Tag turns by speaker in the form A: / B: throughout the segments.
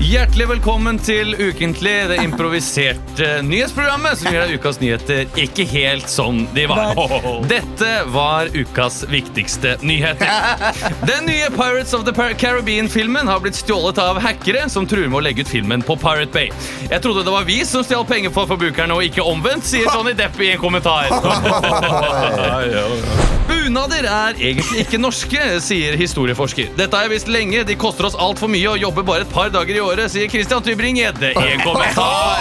A: Hjertelig velkommen til Ukentlig, det improviserte nyhetsprogrammet som gir deg ukas nyheter ikke helt som de var. Dette var ukas viktigste nyheter. Den nye Pirates of the Par- Caribbean-filmen har blitt stjålet av hackere som truer med å legge ut filmen på Pirate Bay. Jeg trodde det var vi som stjal penger for forbrukerne, og ikke omvendt, sier Johnny Depp i en kommentar. Bunader er egentlig ikke norske, sier historieforsker. Dette har jeg visst lenge. De koster oss altfor mye og jobber bare et par dager i året, sier Christian Tybring-Gjedde i en kommentar.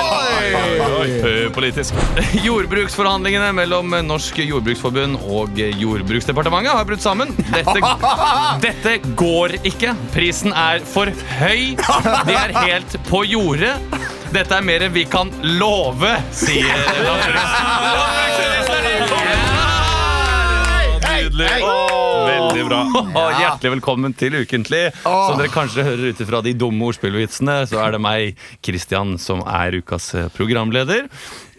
B: Politisk.
A: Jordbruksforhandlingene mellom Norsk Jordbruksforbund og Jordbruksdepartementet har brutt sammen. Dette, dette går ikke. Prisen er for høy. De er helt på jordet. Dette er mer enn vi kan love, sier landbruksministeren.
B: Nydelig. Veldig bra.
A: Og hjertelig velkommen til Ukentlig. Som dere kanskje hører ut fra de dumme ordspillvitsene, så er det meg, Kristian, som er ukas eh, programleder.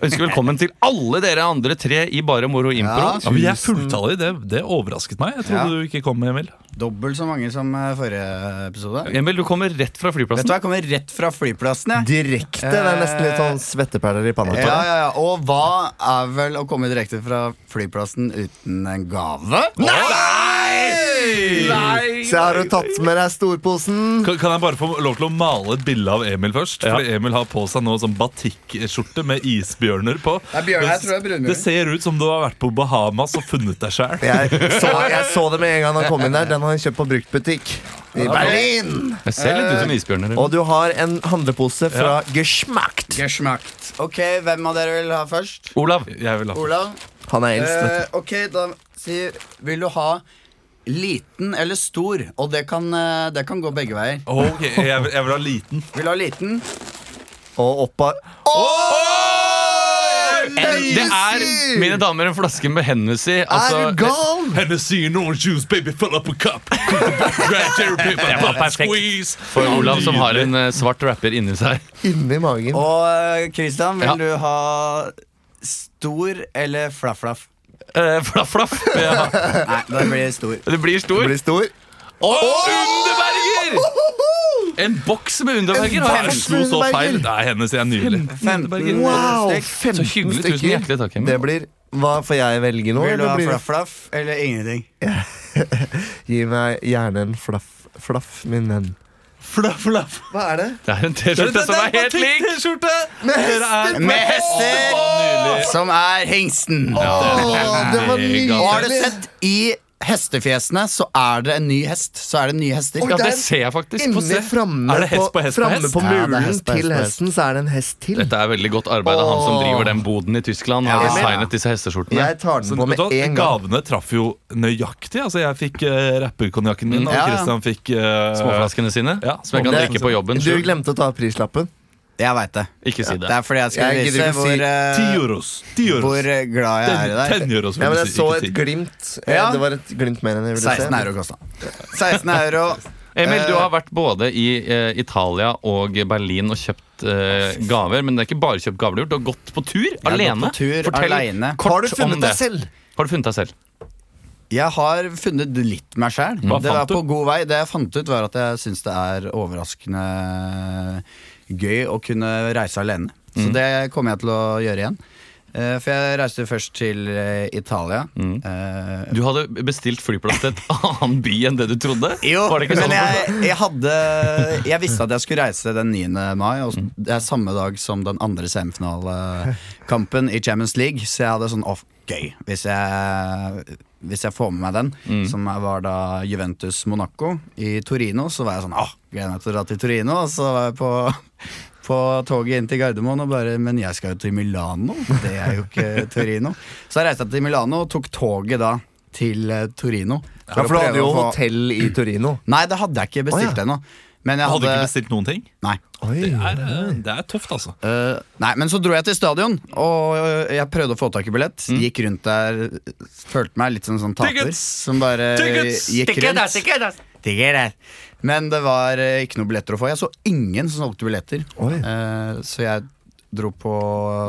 A: Jeg Ønsker velkommen til alle dere andre tre i Bare moro impro.
B: Ja, vi er fulltallige. Det, det overrasket meg. Jeg trodde
C: Ja.
B: du ikke kom, Emil.
C: Dobbelt så mange som eh, forrige episode.
A: Emil, du kommer rett fra
C: Vet du
A: flyplassen.
C: hva, jeg kommer rett fra flyplassen, jeg. Eh,
D: Direkte. Det er nesten litt sånn svetteperler i panna. på
C: Ja,
D: deg.
C: ja, ja. Og hva er vel å komme direkte fra flyplassen uten en gave?
A: Nei!
D: Så har du tatt med deg storposen.
B: Kan, kan jeg bare få lov til å male et bilde av Emil først? Fordi Emil har på seg nå sånn batikkskjorte med isbjørner på.
C: Det er bjørn her, tror jeg, brunbjørn.
B: det ser ut som du har vært på Bahamas og funnet deg sjæl.
D: Jeg så, jeg så det med en gang han kom inn der. Den har han kjøpt på bruktbutikk. I Berlin!
A: Jeg ser litt ut som isbjørner.
D: Og du har en handlepose fra Geschmacht.
C: Geschmackt. Ok, hvem av dere vil ha først?
A: Olav.
B: Jeg vil ha
C: Olav?
D: Han er eldst. vet
C: Eh, ok, da sier Vil du ha liten eller stor? Og det kan, eh, det kan gå begge veier.
B: Ok, jeg vil, jeg vil ha liten.
C: Vil du ha liten?
D: du. Og oppa
A: Det er, altså, mine damer, en flaske med Hennessy.
D: Er du gal?
B: Hennessy and orange juice, baby, fill up a cup. Grand cherry paper,
A: var
B: pop,
A: perfekt.
B: squeeze.
A: for Olav, som har en eh, svart rapper inni seg.
D: Inni magen.
C: Og eh, Christian, vil
A: Ja.
C: du ha stor eller flaff-flaff?
A: Eh, Flaff, flaff. Ja.
C: Nei, da blir det stor.
A: Det blir stor.
D: Du blir stor.
A: Å, Underberger! En boks med Underberger. har jeg.
B: Slo så feil. Nei, Hennessy er nydelig.
C: 15
D: Wow!
C: stykk.
D: 15
A: hyggelig. Tusen
D: stykker.
A: hjertelig takk, Emil.
D: Det blir Hva får jeg velge nå?
C: Vil du
D: Eller
C: ha
D: blir,
C: flaff-flaff eller ingenting?
D: gi meg gjerne en flaff, flaff, min venn.
B: Flaff, flaff.
D: Hva er det?
A: Det er en T-skjorte som er helt lik.
B: T-skjorte!
C: Med hester! Som er hengsten.
D: det var nydelig!
C: Og har du sett i hestefjesene, så er det en ny hest. Så er det nye hester.
A: Ja,
D: det
A: det
D: er
A: ser jeg faktisk. Få
D: Inni
A: se.
D: framme
B: Er det hest på hest på
D: framme
B: hest?
C: Ja,
D: på
C: det er
D: mulen
C: hest på hest
D: til
C: på hest.
D: hesten, så er det en hest til.
A: Dette er veldig godt arbeid av han som
D: Åh.
A: driver den boden i Tyskland. Har
C: Ja.
A: designet disse hesteskjortene
D: Jeg tar den
B: Så, vet
D: på med
B: du hva,
D: en gang.
B: gavene traff jo nøyaktig. Altså, jeg fikk uh, rapperkonjakken min, og
C: Ja, ja.
B: Christian fikk eh,
A: Småflaskene sine,
B: Ja,
A: som jeg kan
D: småflaskene
A: drikke på jobben.
D: Du
A: selv.
D: glemte å ta prislappen.
C: Jeg veit det.
A: Ikke si
C: Det
A: det.
C: er fordi jeg skal
D: Jeg gidder
C: vise
D: ikke å
C: hvor,
D: si
C: eh,
B: 10 euros. 10 euros.
C: hvor eh, glad jeg er i deg.
B: 10 euros, vil
D: Ja, men
B: du
D: jeg
B: si,
D: så
B: ikke
D: et
B: ti.
D: glimt. Eh,
C: Ja.
D: Det var et glimt mer enn jeg ville
C: 16
D: se.
C: euro kosta. 16 euro.
A: Emil, du har vært både i eh, Italia og Berlin og kjøpt eh, gaver. Men det er ikke bare kjøpt gaver du har gjort. Du har gått på tur alene.
C: på tur
A: Fortell
C: alene.
A: kort
D: Har du
A: om det.
D: funnet deg selv?
A: Har du funnet deg selv?
C: Jeg har funnet litt meg sjæl.
B: Hva
C: Det var
B: fant du?
C: på god vei. Det jeg fant ut, var at jeg syns det er overraskende gøy å kunne reise alene. Så
B: Mm.
C: det kommer jeg til å gjøre igjen. Eh, For jeg reiste først til eh, Italia.
B: Mm.
C: Eh,
A: Du hadde bestilt flyplass til et annen by enn det du trodde?
C: Jo,
A: Var det ikke sånn?
C: men jeg, jeg hadde Jeg visste at jeg skulle reise den 9. mai, og
D: Mm.
C: det er samme dag som den andre semifinalekampen i Champions League, så jeg hadde sånn off gøy hvis jeg, hvis jeg får med meg den,
D: Mm.
C: som var da Juventus Monaco i Torino, så var jeg sånn åh, gleder meg til å dra til Torino, og så var jeg på på toget inn til Gardermoen og bare Men jeg skal jo til Milano, det er jo ikke Torino. Så jeg reiste jeg til Milano og tok toget da til eh, Torino.
D: Ja, for du hadde jo
C: å få-
D: hotell i Torino.
C: Nei, det hadde jeg ikke bestilt
D: Å, ja.
C: ennå. Men jeg
B: Hadde
C: hadde,
B: ikke bestilt noen ting?
C: Nei.
D: Oi.
B: Er, eh, det er tøft, altså.
C: Eh, nei, men så dro jeg til stadion, og eh, jeg prøvde å få tak i billett.
A: Mm.
C: Gikk rundt der, følte meg litt som en sånn taper.
B: Tickets!
C: Som bare
B: Tickets!
C: gikk rundt. Tickets! Men det var eh, ikke noen billetter å få. Jeg så ingen som solgte billetter.
D: Oi.
C: Eh, så jeg dro på,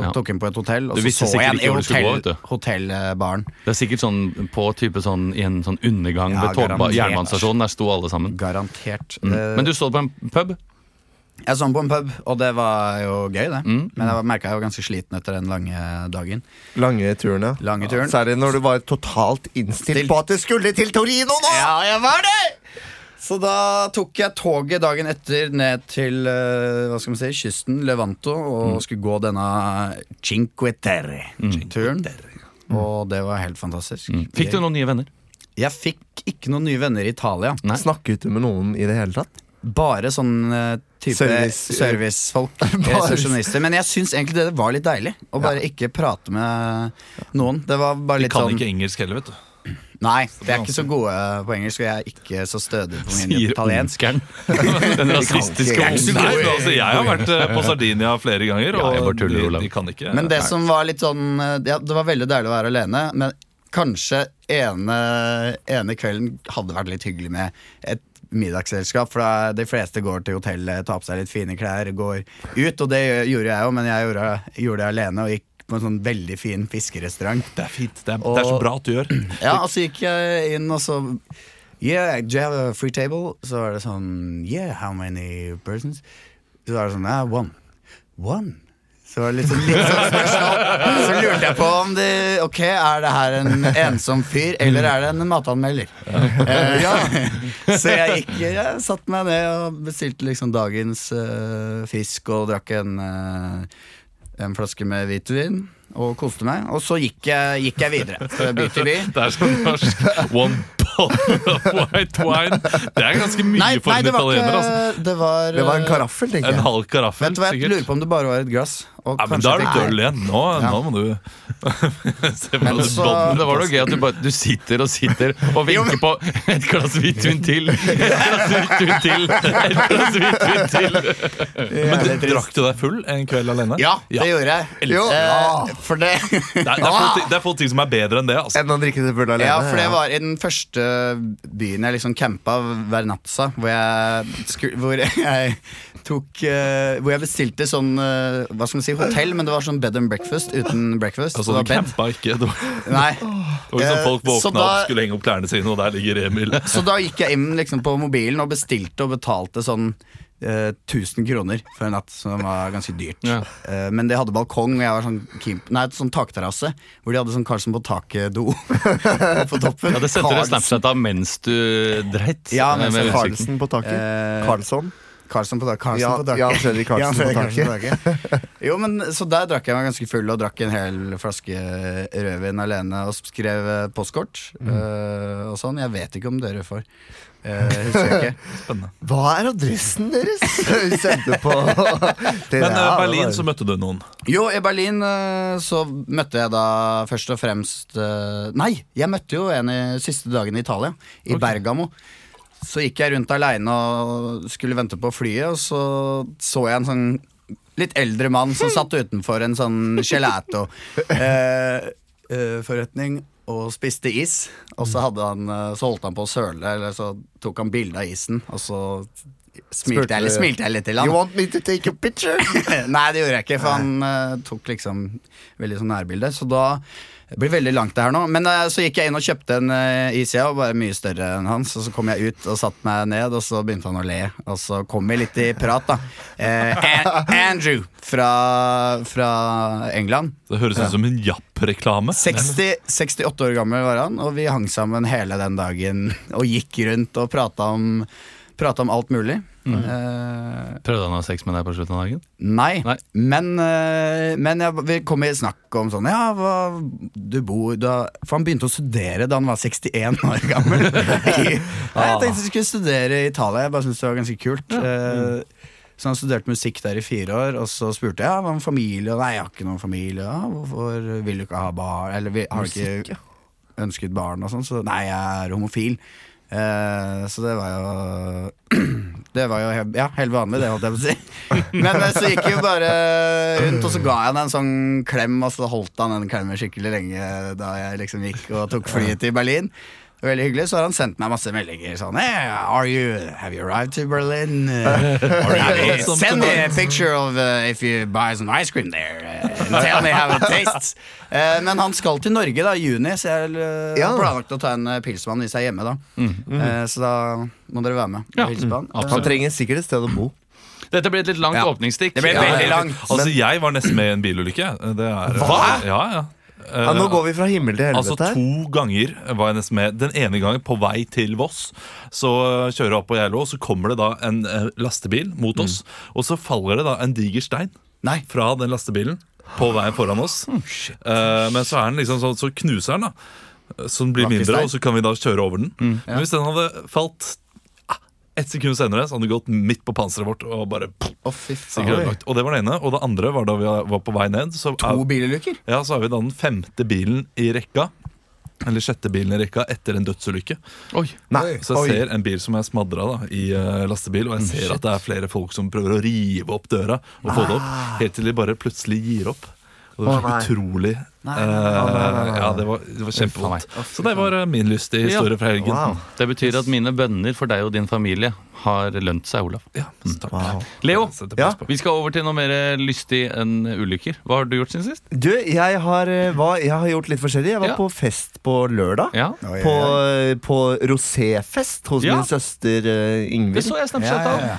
A: Ja.
C: tok inn på et hotell, og
A: Du
C: så
A: visste
C: så jeg
A: sikkert
C: en
A: ikke hvor du skulle gå,
C: hotell,
A: vet
C: hotellbaren.
A: Det er sikkert sånn på type sånn i en sånn undergang
C: Ja,
A: ved togba-
C: garantert.
A: jernbanestasjonen. Der sto alle sammen.
C: Garantert.
A: Mm.
C: Eh,
A: Men du så det på en pub?
C: Jeg sang på en pub, og det var jo gøy, det.
A: Mm.
C: Men jeg merka jeg var ganske sliten etter den lange dagen.
D: Lange turen, ja.
C: Lange turen.
D: Særlig når du var totalt innstilt
C: Stilt.
D: på at du skulle til Torino nå!
C: Ja, jeg var det! Så da tok jeg toget dagen etter ned til eh, hva skal man si, kysten, Levanto, og skulle gå denne Cinque Terre-turen. Og det var helt fantastisk.
A: Mm. Fikk du noen nye venner?
C: Jeg fikk ikke noen nye venner i Italia.
A: Nei.
D: Snakket du med noen i det hele tatt?
C: Bare sånn eh, type
D: Service-
C: servicefolk. Resepsjonister. Men jeg syns egentlig det var litt deilig å bare ikke prate med noen. Det var bare litt
B: Kan
C: sånn
B: ikke engelsk heller, vet du.
C: Nei, jeg er ikke så gode på engelsk, og jeg er ikke så stødig på min
A: Sier
C: italiensk.
A: onskeren. Den rasistiske
D: Jeg er ikke så
B: Nei, men
A: onkelen.
B: altså, jeg har vært eh, på Sardinia flere ganger,
A: Ja, jeg bare
B: og
A: tuller,
B: de,
A: Olav.
B: de kan ikke
C: Men det som var litt sånn eh, ja, Det var veldig deilig å være alene, men kanskje ene, ene kvelden hadde vært litt hyggelig med et middagsselskap, for da de fleste går til hotellet, tar på seg litt fine klær, går ut, og det gjorde jeg jo, men jeg gjorde, gjorde det alene og gikk på en sånn veldig fin fiskerestaurant.
B: Det er fint. Det er, det er så
C: Og-
B: bra at du gjør.
C: Ja, og så gikk jeg inn, og så Yeah, do you have a free table? Så var det sånn Yeah, how many persons? Så var det sånn ah, One. One? Så var det litt sånn, litt sånn spørsmål. Så lurte jeg på om det Ok, er det her en ensom fyr, eller er det en matanmelder? Eh, ja. Så jeg gikk Jeg satte meg ned og bestilte liksom dagens eh, fisk og drakk en eh, en flaske med hvitvin og koste meg. Og så gikk jeg, gikk jeg videre. Fra by til by.
B: Det er sånn norsk one bottle of white wine. Det er ganske mye
C: Nei,
B: for
C: nei,
B: en
C: det var
B: italiener.
C: ikke
B: Altså.
C: Det var,
D: Det var en
C: eh,
D: karaffel, tenker
B: En
D: jeg.
B: halv karaffel,
C: Vet du hva, jeg lurer
B: sikkert.
C: på om det bare var et glass. og
B: Ja, men
C: kanskje
B: da er du
C: jeg fikk-
B: døll igjen. Nå, nå må du se
C: Men
B: hvordan du
C: så-
B: bånder.
A: Det var noe gøy at du bare Du sitter og sitter og vinker på et glass hvitvin til, et glass hvitvin til, et glass hvitvin til.
B: Men du, drakk du deg full en kveld alene?
C: Ja, det gjorde jeg.
D: Jo.
C: Eh, for det
B: Det, er, det, er få,
C: Ah!
B: ting- det er få ting som er bedre enn det. Altså.
D: Enn å drikke det full alene.
C: Ja, for det var i den første byen jeg liksom campa, Vernazza, hvor jeg, sku- hvor jeg tok eh, Hvor jeg bestilte sånn eh, Hva skal man si, hotell, men det var sånn bed and breakfast uten breakfast.
B: Altså,
C: så det
B: du
C: var bed.
B: campa ikke. Det var,
C: Nei,
B: det var liksom folk
C: Eh, så
B: våkna
C: da-
B: opp, skulle henge opp klærne sine, og der ligger Emil.
C: Så da gikk jeg inn liksom, på mobilen og bestilte og betalte sånn eh, 1000 kroner for en natt, som var ganske dyrt.
A: Ja.
C: Eh, men de hadde balkong, og jeg var sånn, keen- nei, sånn takterrasse, hvor de hadde sånn Karlsen på taket-do på toppen.
A: Ja, det sendte du
C: Karlsen-
A: Snapchat av mens du dreit.
C: Ja, mens
A: Med
C: jeg-
A: utsikten.
D: Carlsen på taket.
C: Eh,
D: Carlson.
C: Karlsen på taket. Karlsen
D: Ja,
C: på taket.
D: Jan Fredrik Karlsen
C: Jan Fredrik
D: på
C: Karlsen taket. Jo, men Så der drakk jeg meg ganske full og drakk en hel flaske rødvin alene og skrev eh, postkort
A: Mm.
C: eh, og sånn. Jeg vet ikke om dere får. Eh, husker jeg ikke.
B: eh,
D: Hva er adressen deres? Hun sendte på
B: Men eh, Berlin, så møtte du noen.
C: Jo, i Berlin eh, så møtte jeg da først og fremst eh, Nei, jeg møtte jo en i siste dagen i Italia, i Bergamo. Så gikk jeg rundt aleine og skulle vente på flyet, og så så jeg en sånn litt eldre mann som satt utenfor en sånn gelato-forretning og spiste is. Og så, hadde han, eh, så holdt han på å søle, eller så tok han bilde av isen, og så smilte jeg, smilte jeg litt til han.
D: You want me to take a picture?
C: Nei, det gjorde jeg ikke, for han eh, tok liksom veldig sånn nærbilde. Så da det blir veldig langt det her nå. Men eh, så gikk jeg inn og kjøpte en uh, is, jeg, og bare mye større enn hans. Og så kom jeg ut og satte meg ned, og så begynte han å le. Og så kom vi litt i prat, da. Eh, An- Andrew fra, fra England.
B: Det høres ut som en Japp-reklame.
C: 60, 68 år gammel var han, og vi hang sammen hele den dagen og gikk rundt og prata om, prata om alt mulig. Eh,
A: Prøvde han å ha sex med deg på slutten av dagen?
C: Nei,
A: Nei.
C: men, eh, men jeg, vi kom i snakk om sånn Ja, hva, du bor da For han begynte å studere da han var 61 år gammel. I, Nei, jeg tenkte jeg skulle studere i Italia, jeg bare syntes det var ganske kult. Eh, Så han studerte musikk der i fire år, og så spurte jeg ja, hva med familie. Og Nei, jeg har ikke noen familie. Ja, hvorfor vil du ikke ha barn? Eller vi- har du ikke ønsket barn og sånn? Så nei, jeg er homofil. Eh, så det var jo det var jo helt, ja, helt vanlig, det holdt jeg på å si. Men eh, så gikk vi jo bare rundt, og så ga jeg han en sånn klem, og så holdt han den klemmen skikkelig lenge da jeg liksom gikk og tok flyet til Berlin. Det var Veldig hyggelig, Så har han sendt meg masse meldinger sånn hey, are you, Have you arrived to Berlin? Eh,
B: you-
C: send me a picture of eh, if you buy some ice cream there. eh, and tell me how it tastes. Eh, men han skal til Norge da i juni, så jeg eh,
D: Ja.
C: har planlagt å ta en eh, pils med han hvis jeg er hjemme da. Eh, så da må dere være med og hilse på han.
D: Han trenger sikkert et sted å bo.
A: Dette blir et litt langt
C: Ja.
A: åpningsstikk.
C: Det ble
A: Ja,
C: veldig
A: ja.
C: langt.
B: Altså, jeg var nesten med i en bilulykke. Det er,
A: Hva?
B: Ja, ja. Eh,
D: Ja, nå går vi fra himmel til
B: Altså
D: helvete. her.
B: To ganger var jeg nesten med. Den ene gangen på vei til Voss. Så øh, kjører jeg opp på Geilo, og så kommer det da en eh, lastebil mot oss. Og så faller det da en diger stein
C: Mm. Nei. Mm,
B: fra den lastebilen på veien foran oss. Eh, men så er den liksom sånn, så knuser den, da. Så den blir mindre,
C: Lakkestein.
B: og så kan vi da kjøre over den.
C: Mm,
B: Men hvis den hadde falt ah, ett sekund senere, så hadde den gått midt på panseret vårt. Og bare
C: Å, fy
B: sikkert
C: faen.
B: ødelagt. Og det var det ene. Og det andre var da vi var på vei ned. Så
C: To bilulykker?
B: ja, så er vi da den femte bilen i rekka. Eller sjette bilen i rekka etter en dødsulykke.
A: Oi.
D: Nei,
B: Så jeg ser en bil som er smadra da, i eh, lastebil, og jeg ser at det er flere folk som prøver å rive opp døra og få det opp. Helt til de bare plutselig gir opp. Og det
D: Å,
B: var
D: nei.
B: utrolig
C: Nei,
B: eh, Ja, det var, det var kjempevondt. Så det var eh, min lystige historie fra helgen.
D: Wow.
A: Det betyr at mine bønner for deg og din familie har lønt seg, Olav.
B: Ja, så takk.
D: Wow.
A: Leo,
B: Setter
D: Ja.
B: pris på.
A: vi skal over til noe mer lystig enn ulykker. Hva har du gjort siden sist?
D: Du, jeg har, eh, hva, jeg har gjort litt forskjellig. Jeg var
A: Ja.
D: på fest på lørdag.
A: Ja,
C: Oi, oi,
D: På, eh,
C: oi.
D: på roséfest hos
A: Ja.
D: min søster eh,
A: Det
D: Ingvild.
A: så jeg Snapchat
C: Ja,
A: av.
C: ja, ja.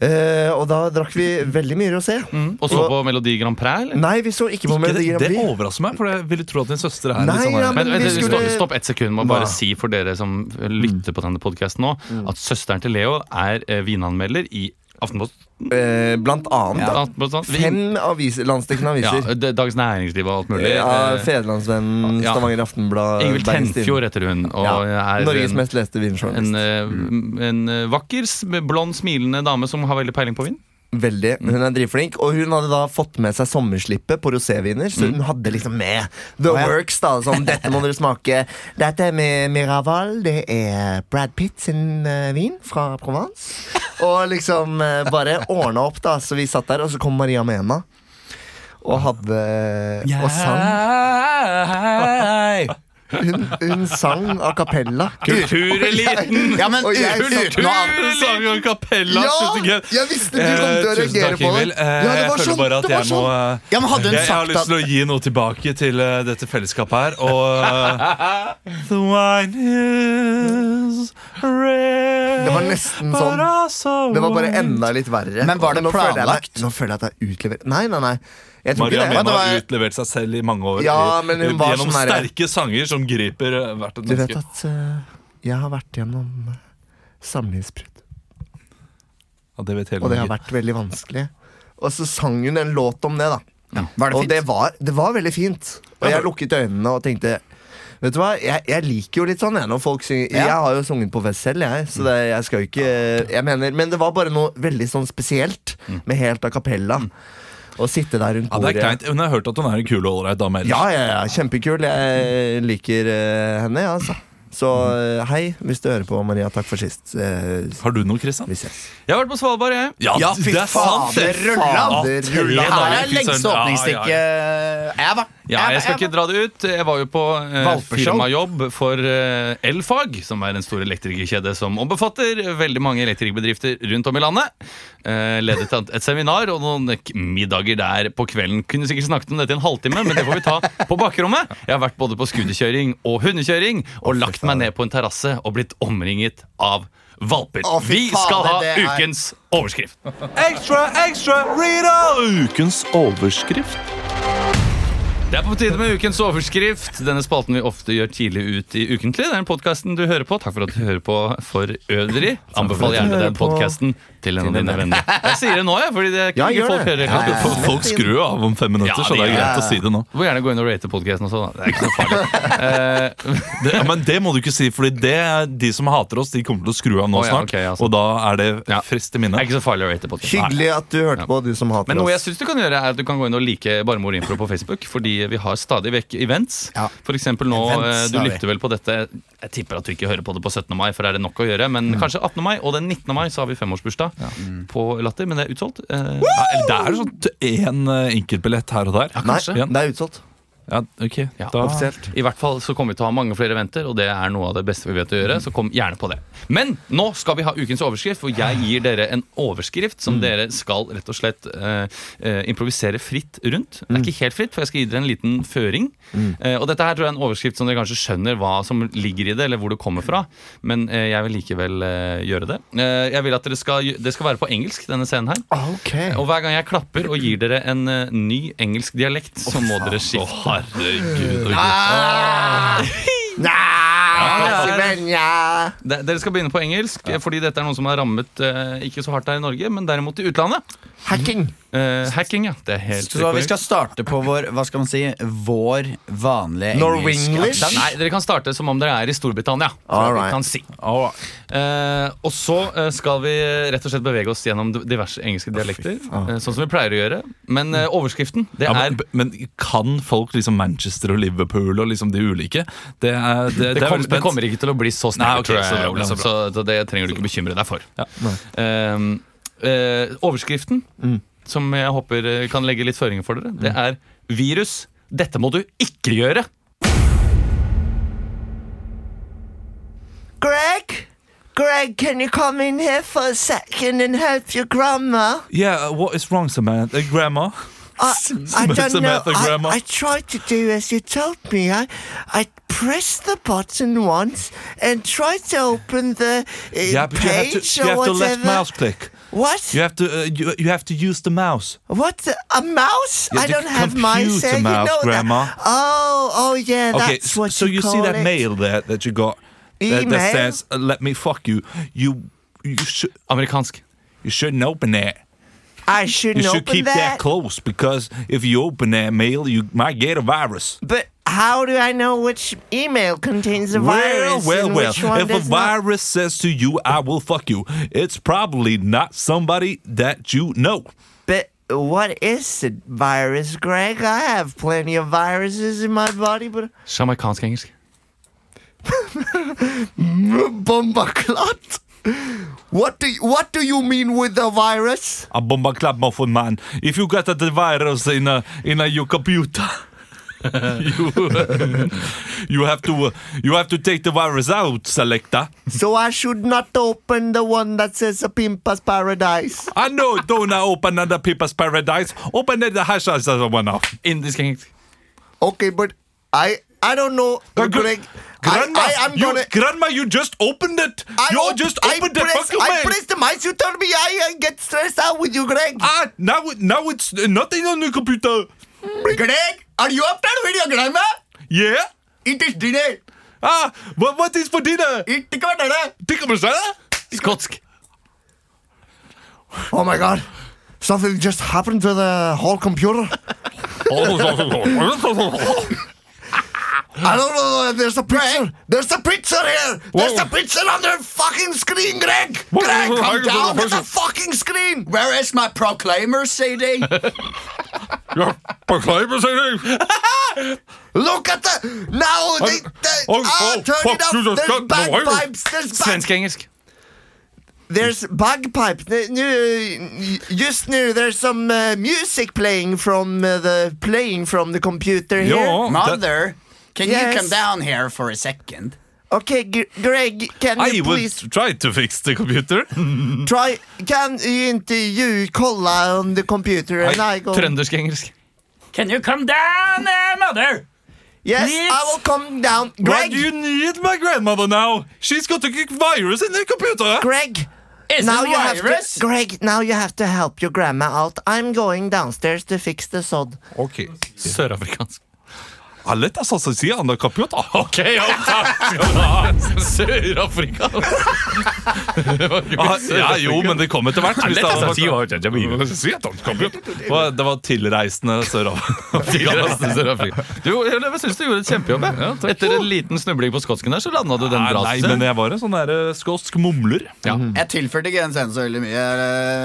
D: Eh, og da drakk vi veldig mye rosé.
A: Mm. Og så på Melodi Grand Prix, eller?
D: Nei, vi så ikke på
B: Ikke, det,
D: Melodi Grand
B: det
D: Prix.
B: overrasker meg, for jeg ville tro at din søster er
D: Nei,
B: litt sånn
D: ja,
B: her.
A: Men,
D: Men vi
A: vent,
D: skulle-
A: stopp, stopp ett sekund. Må bare
D: Hva? Mm.
A: si for dere som lytter på denne podkasten nå, at søsteren til Leo er eh, vinanmelder i Aftenposten.
D: Eh, blant annet. da.
A: Aftenposten. Vin-
D: Fem aviser, landsdekkende
A: Ja,
D: aviser.
A: det- Dagens Næringsliv og alt mulig.
D: Ja,
A: Eh,
D: Federlandsvennen,
A: ja.
D: Stavanger Aftenblad
A: Ingvild
D: Bergens
A: Tenfjord heter hun. Og
D: Ja,
A: er
D: Norges
A: en-
D: mest Mm. leste
A: en,
D: vinjournalist.
A: eh, en eh, vakker, s- blond, smilende dame som har veldig peiling på vin.
D: Veldig, Hun er drivflink. Og hun hadde da fått med seg sommerslippet på roséviner, så
A: Mm.
D: hun hadde liksom med The
C: ja.
D: Works. da Sånn, dette må dere smake. Dette er med Miraval. Det er Brad Pitt sin eh, vin fra Provence. Og liksom eh, bare ordna opp, da. Så vi satt der, og så kom Maria Mena. Og hadde Og sang. Hun, hun sang a cappella.
A: Kultureliten!
C: Ja, men eh,
D: Og jeg-
C: uten, uten å an-
A: Kultureliten!
B: Sanger Kapella,
D: Ja!
B: slutt ikke.
D: Jeg visste du kom til å
B: Eh, tusen
D: reagere
B: takk,
D: på det.
B: Ingvild. Eh,
D: Ja, det var
B: jeg føler
D: sånn,
B: bare at
D: det var
B: jeg må eh,
C: Ja, men hadde hun
B: jeg, jeg har
C: sagt
B: lyst
C: at-
B: til å gi noe tilbake til eh, dette fellesskapet her. Og eh, The wine is red
D: Det var nesten
B: but
D: sånn.
B: also
D: Det var bare
B: white.
D: enda litt verre.
C: Men var det
D: Nå føler jeg meg-
C: planlagt?
D: Nå føler jeg at jeg utleverer Nei, nei, nei. Jeg tror
B: Maria
D: ikke det.
B: Mena
D: Men
B: har
D: det var,
B: utlevert seg selv i mange år
D: Ja,
B: i-
D: men hun var
B: gjennom
D: sånn der-
B: sterke sanger som griper eh, hvert et
D: du vet
B: menneske.
D: at eh, jeg har vært gjennom eh, samlivsbrudd,
B: Ja, det vet hele
D: og det har
B: Norge.
D: vært veldig vanskelig. Og så sang hun en låt om det, da.
C: Var det
D: og det
C: fint?
D: var, det var veldig fint. Og jeg lukket øynene og tenkte Vet du hva, jeg, jeg liker jo litt sånn jeg, når folk synger.
C: Ja.
D: Jeg har jo sunget på fest selv, jeg. Så det, jeg skal jo ikke Jeg mener, Men det var bare noe veldig sånn spesielt
C: Mm.
D: med helt a cappella. Å sitte der rundt
B: Ja, det
D: bordet.
B: er kleint. Hun har hørt at hun er en kul og ålreit dame ellers.
D: Ja, ja, ja, kjempekul. Jeg liker eh, henne, ja, altså. Så eh, hei, hvis du hører på, Maria. Takk for sist. Eh,
B: Har du noe, Kristian?
D: vi ses.
A: Jeg har vært på Svalbard, jeg.
B: Ja,
C: Ja, fy
B: det er sant!
C: fader,
B: det.
C: rulla!
D: Fader,
B: Tre
D: rulla.
B: dager,
C: Her er
B: fy søren.
C: lengste
B: Ja, ja, ja.
C: åpningsstikket jeg var.
A: Ja, jeg skal ikke dra det ut. Jeg var jo på eh,
C: Valpeshow.
A: firmajobb for eh, Elfag, som er en stor elektrikerkjede som ombefatter veldig mange elektrikerbedrifter rundt om i landet. Eh, ledet et, et seminar og noen k- middager der på kvelden. Kunne sikkert snakket om dette i en halvtime, men det får vi ta på bakrommet. Jeg har vært både på skuterkjøring og hundekjøring og lagt meg ned på en terrasse og blitt omringet av valper.
C: Å, fy
A: Vi skal ha
C: fader, det er-
A: ukens overskrift.
B: Ekstra, ekstra, Rita! Ukens overskrift.
A: Det er på tide med ukens overskrift. Denne spalten vi ofte gjør tidlig ut i ukentlig. Det er den podkasten du hører på. Takk for at du hører på for øvrig. Anbefal gjerne
D: hører
A: den
D: på.
A: podkasten til en av dine venner. Jeg sier det nå, jeg, fordi det
D: Ja,
A: kan ikke
D: gjør
A: folk
D: det.
A: høre reklame.
C: Eh,
B: For Folk skrur jo av om fem minutter,
A: Ja,
B: så det
A: de
B: er
A: gjør
B: greit
D: det.
B: å si det nå.
A: Du må gjerne gå inn og rate podkasten også, da. Det er ikke så farlig. Eh,
B: Det, ja, men det må du ikke si, Fordi det er de som hater oss, de kommer til å skru av
A: Å,
B: nå
A: ja,
B: snart.
A: ok, ja, sant.
B: og da er det
A: Ja.
B: frist i
A: det
B: minne.
A: er ikke så farlig å rate podkasten.
D: Hyggelig at du hørte på, du som hater
A: Men noe jeg
D: oss.
A: synes du kan gjøre er at du kan gå inn og like Barmor Impro på Facebook. Fordi vi har stadig vekk events.
C: Ja.
A: For eksempel nå, eh,
C: Events
A: Du
C: har vi.
A: lytter vel på dette Jeg tipper at du ikke hører på det på 17. mai, for er det nok å gjøre. Men kanskje 18. mai, og den 19. mai så har vi femårsbursdag på Latter. Men det er utsolgt. Eh,
B: Ja, eller det er sånn én enkeltbillett her og der.
D: Nei,
A: kanskje.
D: det er utsolgt.
B: Ja, ok.
A: Ja,
B: da,
A: offisielt. I hvert fall så kommer vi til å ha mange flere eventer, og det er noe av det beste vi vet å gjøre. Så kom gjerne på det. Men nå skal vi ha ukens overskrift, hvor jeg gir dere en overskrift som dere skal rett og slett eh, eh, improvisere fritt rundt. Det er ikke helt fritt, for jeg skal gi dere en liten føring. Eh, og dette her tror jeg er en overskrift som dere kanskje skjønner hva som ligger i det, eller hvor det kommer fra. Men eh, jeg vil likevel eh, gjøre det. Eh, jeg vil at dere skal, Det skal være på engelsk, denne scenen her.
D: Ah, Ok.
A: Og hver gang jeg klapper og gir dere en eh, ny engelsk dialekt, så må dere skifte.
B: herregud. ok.
D: Nei, Svenja.
A: De- Dere skal begynne på engelsk, eh, fordi dette er noe som er rammet eh, ikke så hardt her i Norge, men derimot i utlandet.
D: Hacking.
A: Eh, hacking, ja. Det er helt
C: Så vi
A: korrekt.
C: skal starte på vår hva skal man si, vår vanlige
D: Norwenglish?
C: aksent.
A: Nei, dere kan starte som om dere er i Storbritannia.
D: All right.
A: Kan si.
B: Au.
A: Eh, og så eh, skal vi rett og slett bevege oss gjennom d- diverse engelske dialekter. eh, sånn som vi pleier å gjøre. Men eh, overskriften, det
B: Mm. Ja,
A: er
B: men, men kan folk liksom Manchester og Liverpool og liksom de ulike? Det er, det, det
A: det,
B: er
A: kom,
B: veldig
A: det
B: spent.
A: kommer ikke til å bli så
B: Nei,
A: snart,
B: ok,
A: tror jeg.
B: så bra,
A: Ole,
B: så
A: så,
B: bra.
A: så, det trenger du ikke bekymre deg for.
B: Ja.
A: Ehm, eh, overskriften,
B: Mm.
A: som jeg håper eh, kan legge litt føringer for dere, det er 'Virus. Dette må du ikke gjøre'.
D: Greg? Greg, can you come in here for a second and help your grandma?
B: Yeah, uh, what is wrong, Samantha? Uh, Grandma?
D: I, I don't know.
B: Samantha,
D: I,
B: grandma.
D: I tried to do as you told me. I, I pressed the button once and tried to open the uh,
B: Yeah, but you have
D: page
B: to, you
D: or
B: have to left
D: whatever.
B: mouse click.
D: What?
B: You have to, uh, you, you have to use the mouse.
D: What? the- A mouse?
B: Yeah,
D: I
B: the
D: don't have mice.
B: computer
D: eh?
B: mouse,
D: you know
B: grandma.
D: That. Oh, oh yeah,
B: Okay,
D: that's what
B: so you, see
D: call
B: that
D: it.
B: mail there that you got that,
D: Email?
B: that says uh, "Let me fuck you." You you should
A: Amerikansk.
B: you shouldn't open that.
D: I shouldn't
B: You should
D: open
B: keep that. close because if you open that mail, you might get a virus.
D: But how do I know which email contains the virus?
B: well,
D: and
B: well,
D: Which one
B: well. If a
D: does not?
B: virus says to you, "I will fuck you," it's probably not somebody that you know.
D: But what is a virus, Greg? I have plenty of viruses in my body, but
A: Jamaikansk-engelsk.
D: bombaclot. What do you, what do you mean with a virus?
B: A bomba club muffin man. If you got the virus in a, in a, your computer. you, you have to uh, you have to take the virus out, selector.
D: so I should not open the one that says a pimpas paradise.
B: I know, don't open another people's paradise. Open it, the hash as one off.
A: Indisk-engelsk.
D: Okay, but I I don't know, Greg.
B: Grandma,
D: I, I, I'm
B: you,
D: gonna.
B: grandma, you just opened it.
D: I
B: you
D: op-
B: just
D: I
B: opened the
D: press-
B: fucking
D: I
B: mail.
D: press the mice. You told me I, I get stressed out with you, Greg.
B: Ah, now, it- now it's uh, nothing on the computer.
D: Greg, are you upset with your grandma?
B: Yeah?
D: It is dinner.
B: Ah, but what is for dinner?
D: It tikka masala.
B: Tikka masala?
A: Skotsk.
D: Oh my god. Something just happened to the whole computer. I don't know. There's a picture. There's a picture here. There's a picture on the fucking screen, Greg. Greg, come down to the fucking screen.
C: Where is my proclaimer CD?
D: Look at the now. They, they,
B: oh,
D: ah,
B: oh,
D: turn
B: fuck,
D: it up.
B: you just
D: There's
B: got the virus.
D: bagpipes. There's bag,
A: Svensk-engelsk.
D: There's bagpipe. The- new- Just now, there's some uh, music playing from uh, the playing from the computer here.
B: Ja.
C: Mother, can
D: Yes.
C: you come down here for a second?
D: Okay, G- Greg, can
B: I
D: you
B: will
D: please
B: try to fix the computer.
D: try? Can you inte you kolla on the computer and I, go?
A: Trøndersk-engelsk.
E: Can you come down there, mother?
D: Yes, I
E: please?
D: will come down,
B: Why
D: Greg.
B: do you need my grandmother now? She's got a virus in the computer.
D: Greg.
E: Is
D: Now
E: it
D: you have
E: virus?
D: to, Greg. Now you have to help your grandma out. I'm going downstairs to fix the sod.
B: Okay.
A: Sørafrikansk.
B: Aletta sa så sier andre computer.
A: Ok, ja, takk skal du ha. Sørafrikansk.
B: Ah, ja, jo, men det kom etter hvert. hvis det hadde vært-
A: Sørafrikansk.
B: Hva- Det var tilreisende sørover.
A: Du, jeg syns du gjorde et kjempejobb. jeg. Etter en liten snubling på skotsken der, så landa du den bra.
B: Ah, Nei,
A: synes jeg.
B: men jeg var en sånn der eh, skotsk mumler.
A: Ja.
C: Jeg tilførte ikke den scenen så veldig mye.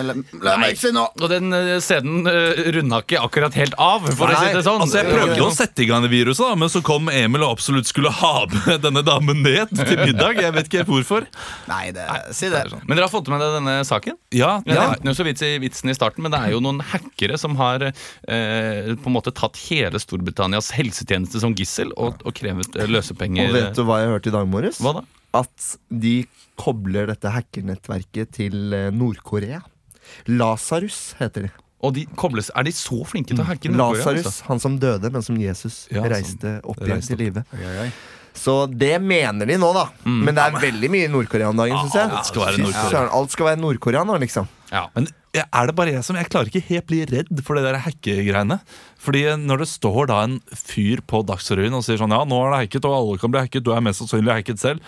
C: La, la meg ikke si nå.
A: Og den eh, scenen uh, runda ikke akkurat helt av, for å
B: Nei,
A: si det sånn. Eh,
B: altså Jeg prøvde å sette i gang det viruset, avgjørelse, da, men så kom Emil og absolutt skulle ha med denne damen ned til middag. Jeg vet ikke helt hvorfor.
C: Nei, det, si det.
A: Men dere har fått med dere denne saken?
B: Ja,
A: Jeg
B: ja.
A: nevnte jo så vidt i vitsen i starten, men det er jo noen hackere som har eh, på en måte tatt hele Storbritannias helsetjeneste som gissel og, og krevet eh, løsepenger.
D: Og vet du hva jeg hørte i dag morges?
A: Hva da?
D: At de kobler dette hackernettverket til eh, Nord-Korea. Lasarus heter de.
A: Og de kobles, er de så flinke til å hacke? Nord-Korea, altså?
D: Lasarus, han som døde, men som Jesus
B: Ja, som
D: reiste opp igjen
B: reiste
D: til live. Så det mener de nå, da. Men det er veldig mye i Nord-Korea om dagen, syns jeg.
B: alt Mm. skal være
D: Fy
B: Nord-Korea.
D: søren, Alt skal være Nord-Korea nå, liksom.
A: Ja.
B: Men er det bare jeg som Jeg klarer ikke helt bli redd for det der hackegreiene. Fordi når det står da en fyr på Dagsrevyen og sier sånn Ja, nå er det hacket, og alle kan bli hacket, du er mest sannsynlig hacket selv.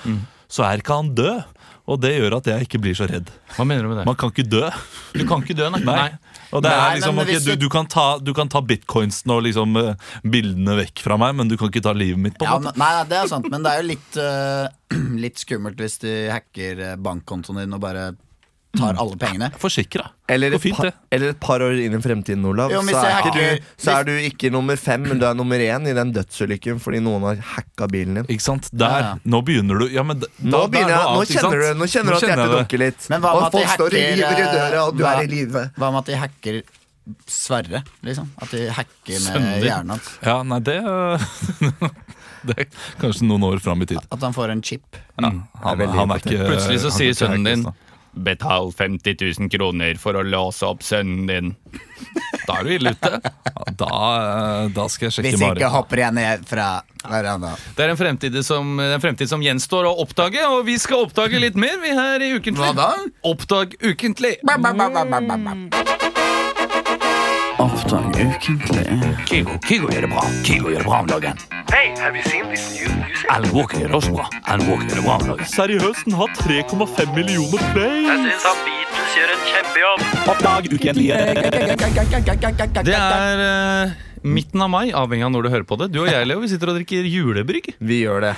B: Så er ikke han død. Og det gjør at jeg ikke blir så redd.
A: Hva mener du med det?
B: Man kan ikke dø.
A: Du kan ikke dø, nei.
B: Nei.
A: nei.
B: Og det
C: Nei,
B: er liksom,
C: men
B: ok,
C: hvis
B: du,
C: du-
B: du, kan ta, du kan ta bitcoinsen og liksom eh, bildene vekk fra meg, men du kan ikke ta livet mitt. på
C: Ja,
B: en måte
C: men, nei, nei, det er sant, men det er jo litt, eh, litt skummelt hvis de hacker eh, bankkontoen din og bare tar alle pengene.
B: Forsikra.
D: Eller
B: Går
D: et,
B: fint,
D: par,
B: det.
D: eller et par år inn i fremtiden, Olav,
C: Jo, men
D: så,
C: hvis jeg
D: er ikke
C: hacker-
D: du, så er du ikke nummer fem, men du er nummer én i den dødsulykken fordi noen har hacka bilen din.
B: Ikke sant?
C: Ja,
B: Der.
C: ja.
B: Nå begynner du. Ja, men d- da-
D: Nå,
B: da er det
D: begynner jeg,
B: noe
D: nå
B: annet, ikke sant?
D: kjenner du, nå kjenner du at
B: kjenner
D: hjertet
B: jeg det.
D: dunker litt.
C: Men hva med
D: Og
C: at de
D: folk står og
C: hacker, eh,
D: river i døra, og du
C: hva-
D: er i live.
C: Hva med at de hacker Sverre, liksom? At de hacker
B: Sønder.
C: med hjernen hans?
B: Ja, nei, det eh, Det er kanskje noen år fram i tid.
C: At han får en chip?
B: Ja, han,
D: veldig
B: han er ikke
A: Plutselig så
B: han er
A: sier
B: ikke
A: sønnen din
B: hackers, da.
A: Betal 50 000 kroner for å låse opp sønnen din. Da er du ille ute.
B: Ja, Da, eh, da skal jeg
C: Hvis
B: sjekke
C: ikke
B: Mari.
C: hopper jeg ned fra verandaen.
A: Det er en fremtid, som, en fremtid som gjenstår å oppdage, og vi skal oppdage litt mer vi her i Ukentlig.
C: Hva da?
A: Oppdag Ukentlig.
C: Oppdag ukentlig.
E: Kygo, Kygo gjør det bra. Kygo gjør det bra om dagen. Hey, have you seen this new music? Alan Walker gjør det også bra. Alan Walker gjør det bra om dagen.
B: Seriøst, den har 3,5 millioner play!
A: Det er eh, midten av mai, avhengig av når du hører på det. Du og jeg, Leo, vi sitter og drikker julebrygg.
D: Vi gjør det.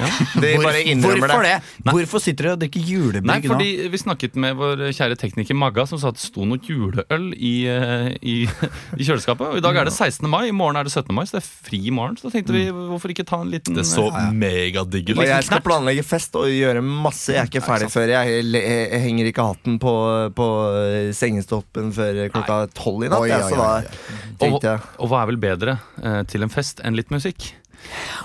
D: De bare innrømmer
C: Hvorfor
D: det.
C: det? Hvorfor sitter dere og drikker
A: Nei,
C: julebrygg nå?
A: fordi vi snakket med vår kjære tekniker Magga, som sa at det sto noe juleøl i, eh, i, i kjøleskapet. Og I dag er det 16. mai, i morgen er det 17. mai, så det er fri i morgen. Så da tenkte vi, hvorfor ikke ta en liten eh,
B: Det så megadigg ut.
D: Og jeg skal planlegge fest og gjøre masse. Jeg er ikke ferdig før jeg, jeg henger ikke hatten på, på eh, sengestoppen før klokka tolv i natt.
C: Oi,
D: jeg,
C: oi,
D: så
C: oi,
D: da
A: Og,
D: tenkte jeg
A: og hva er vel bedre eh, til en fest enn litt musikk?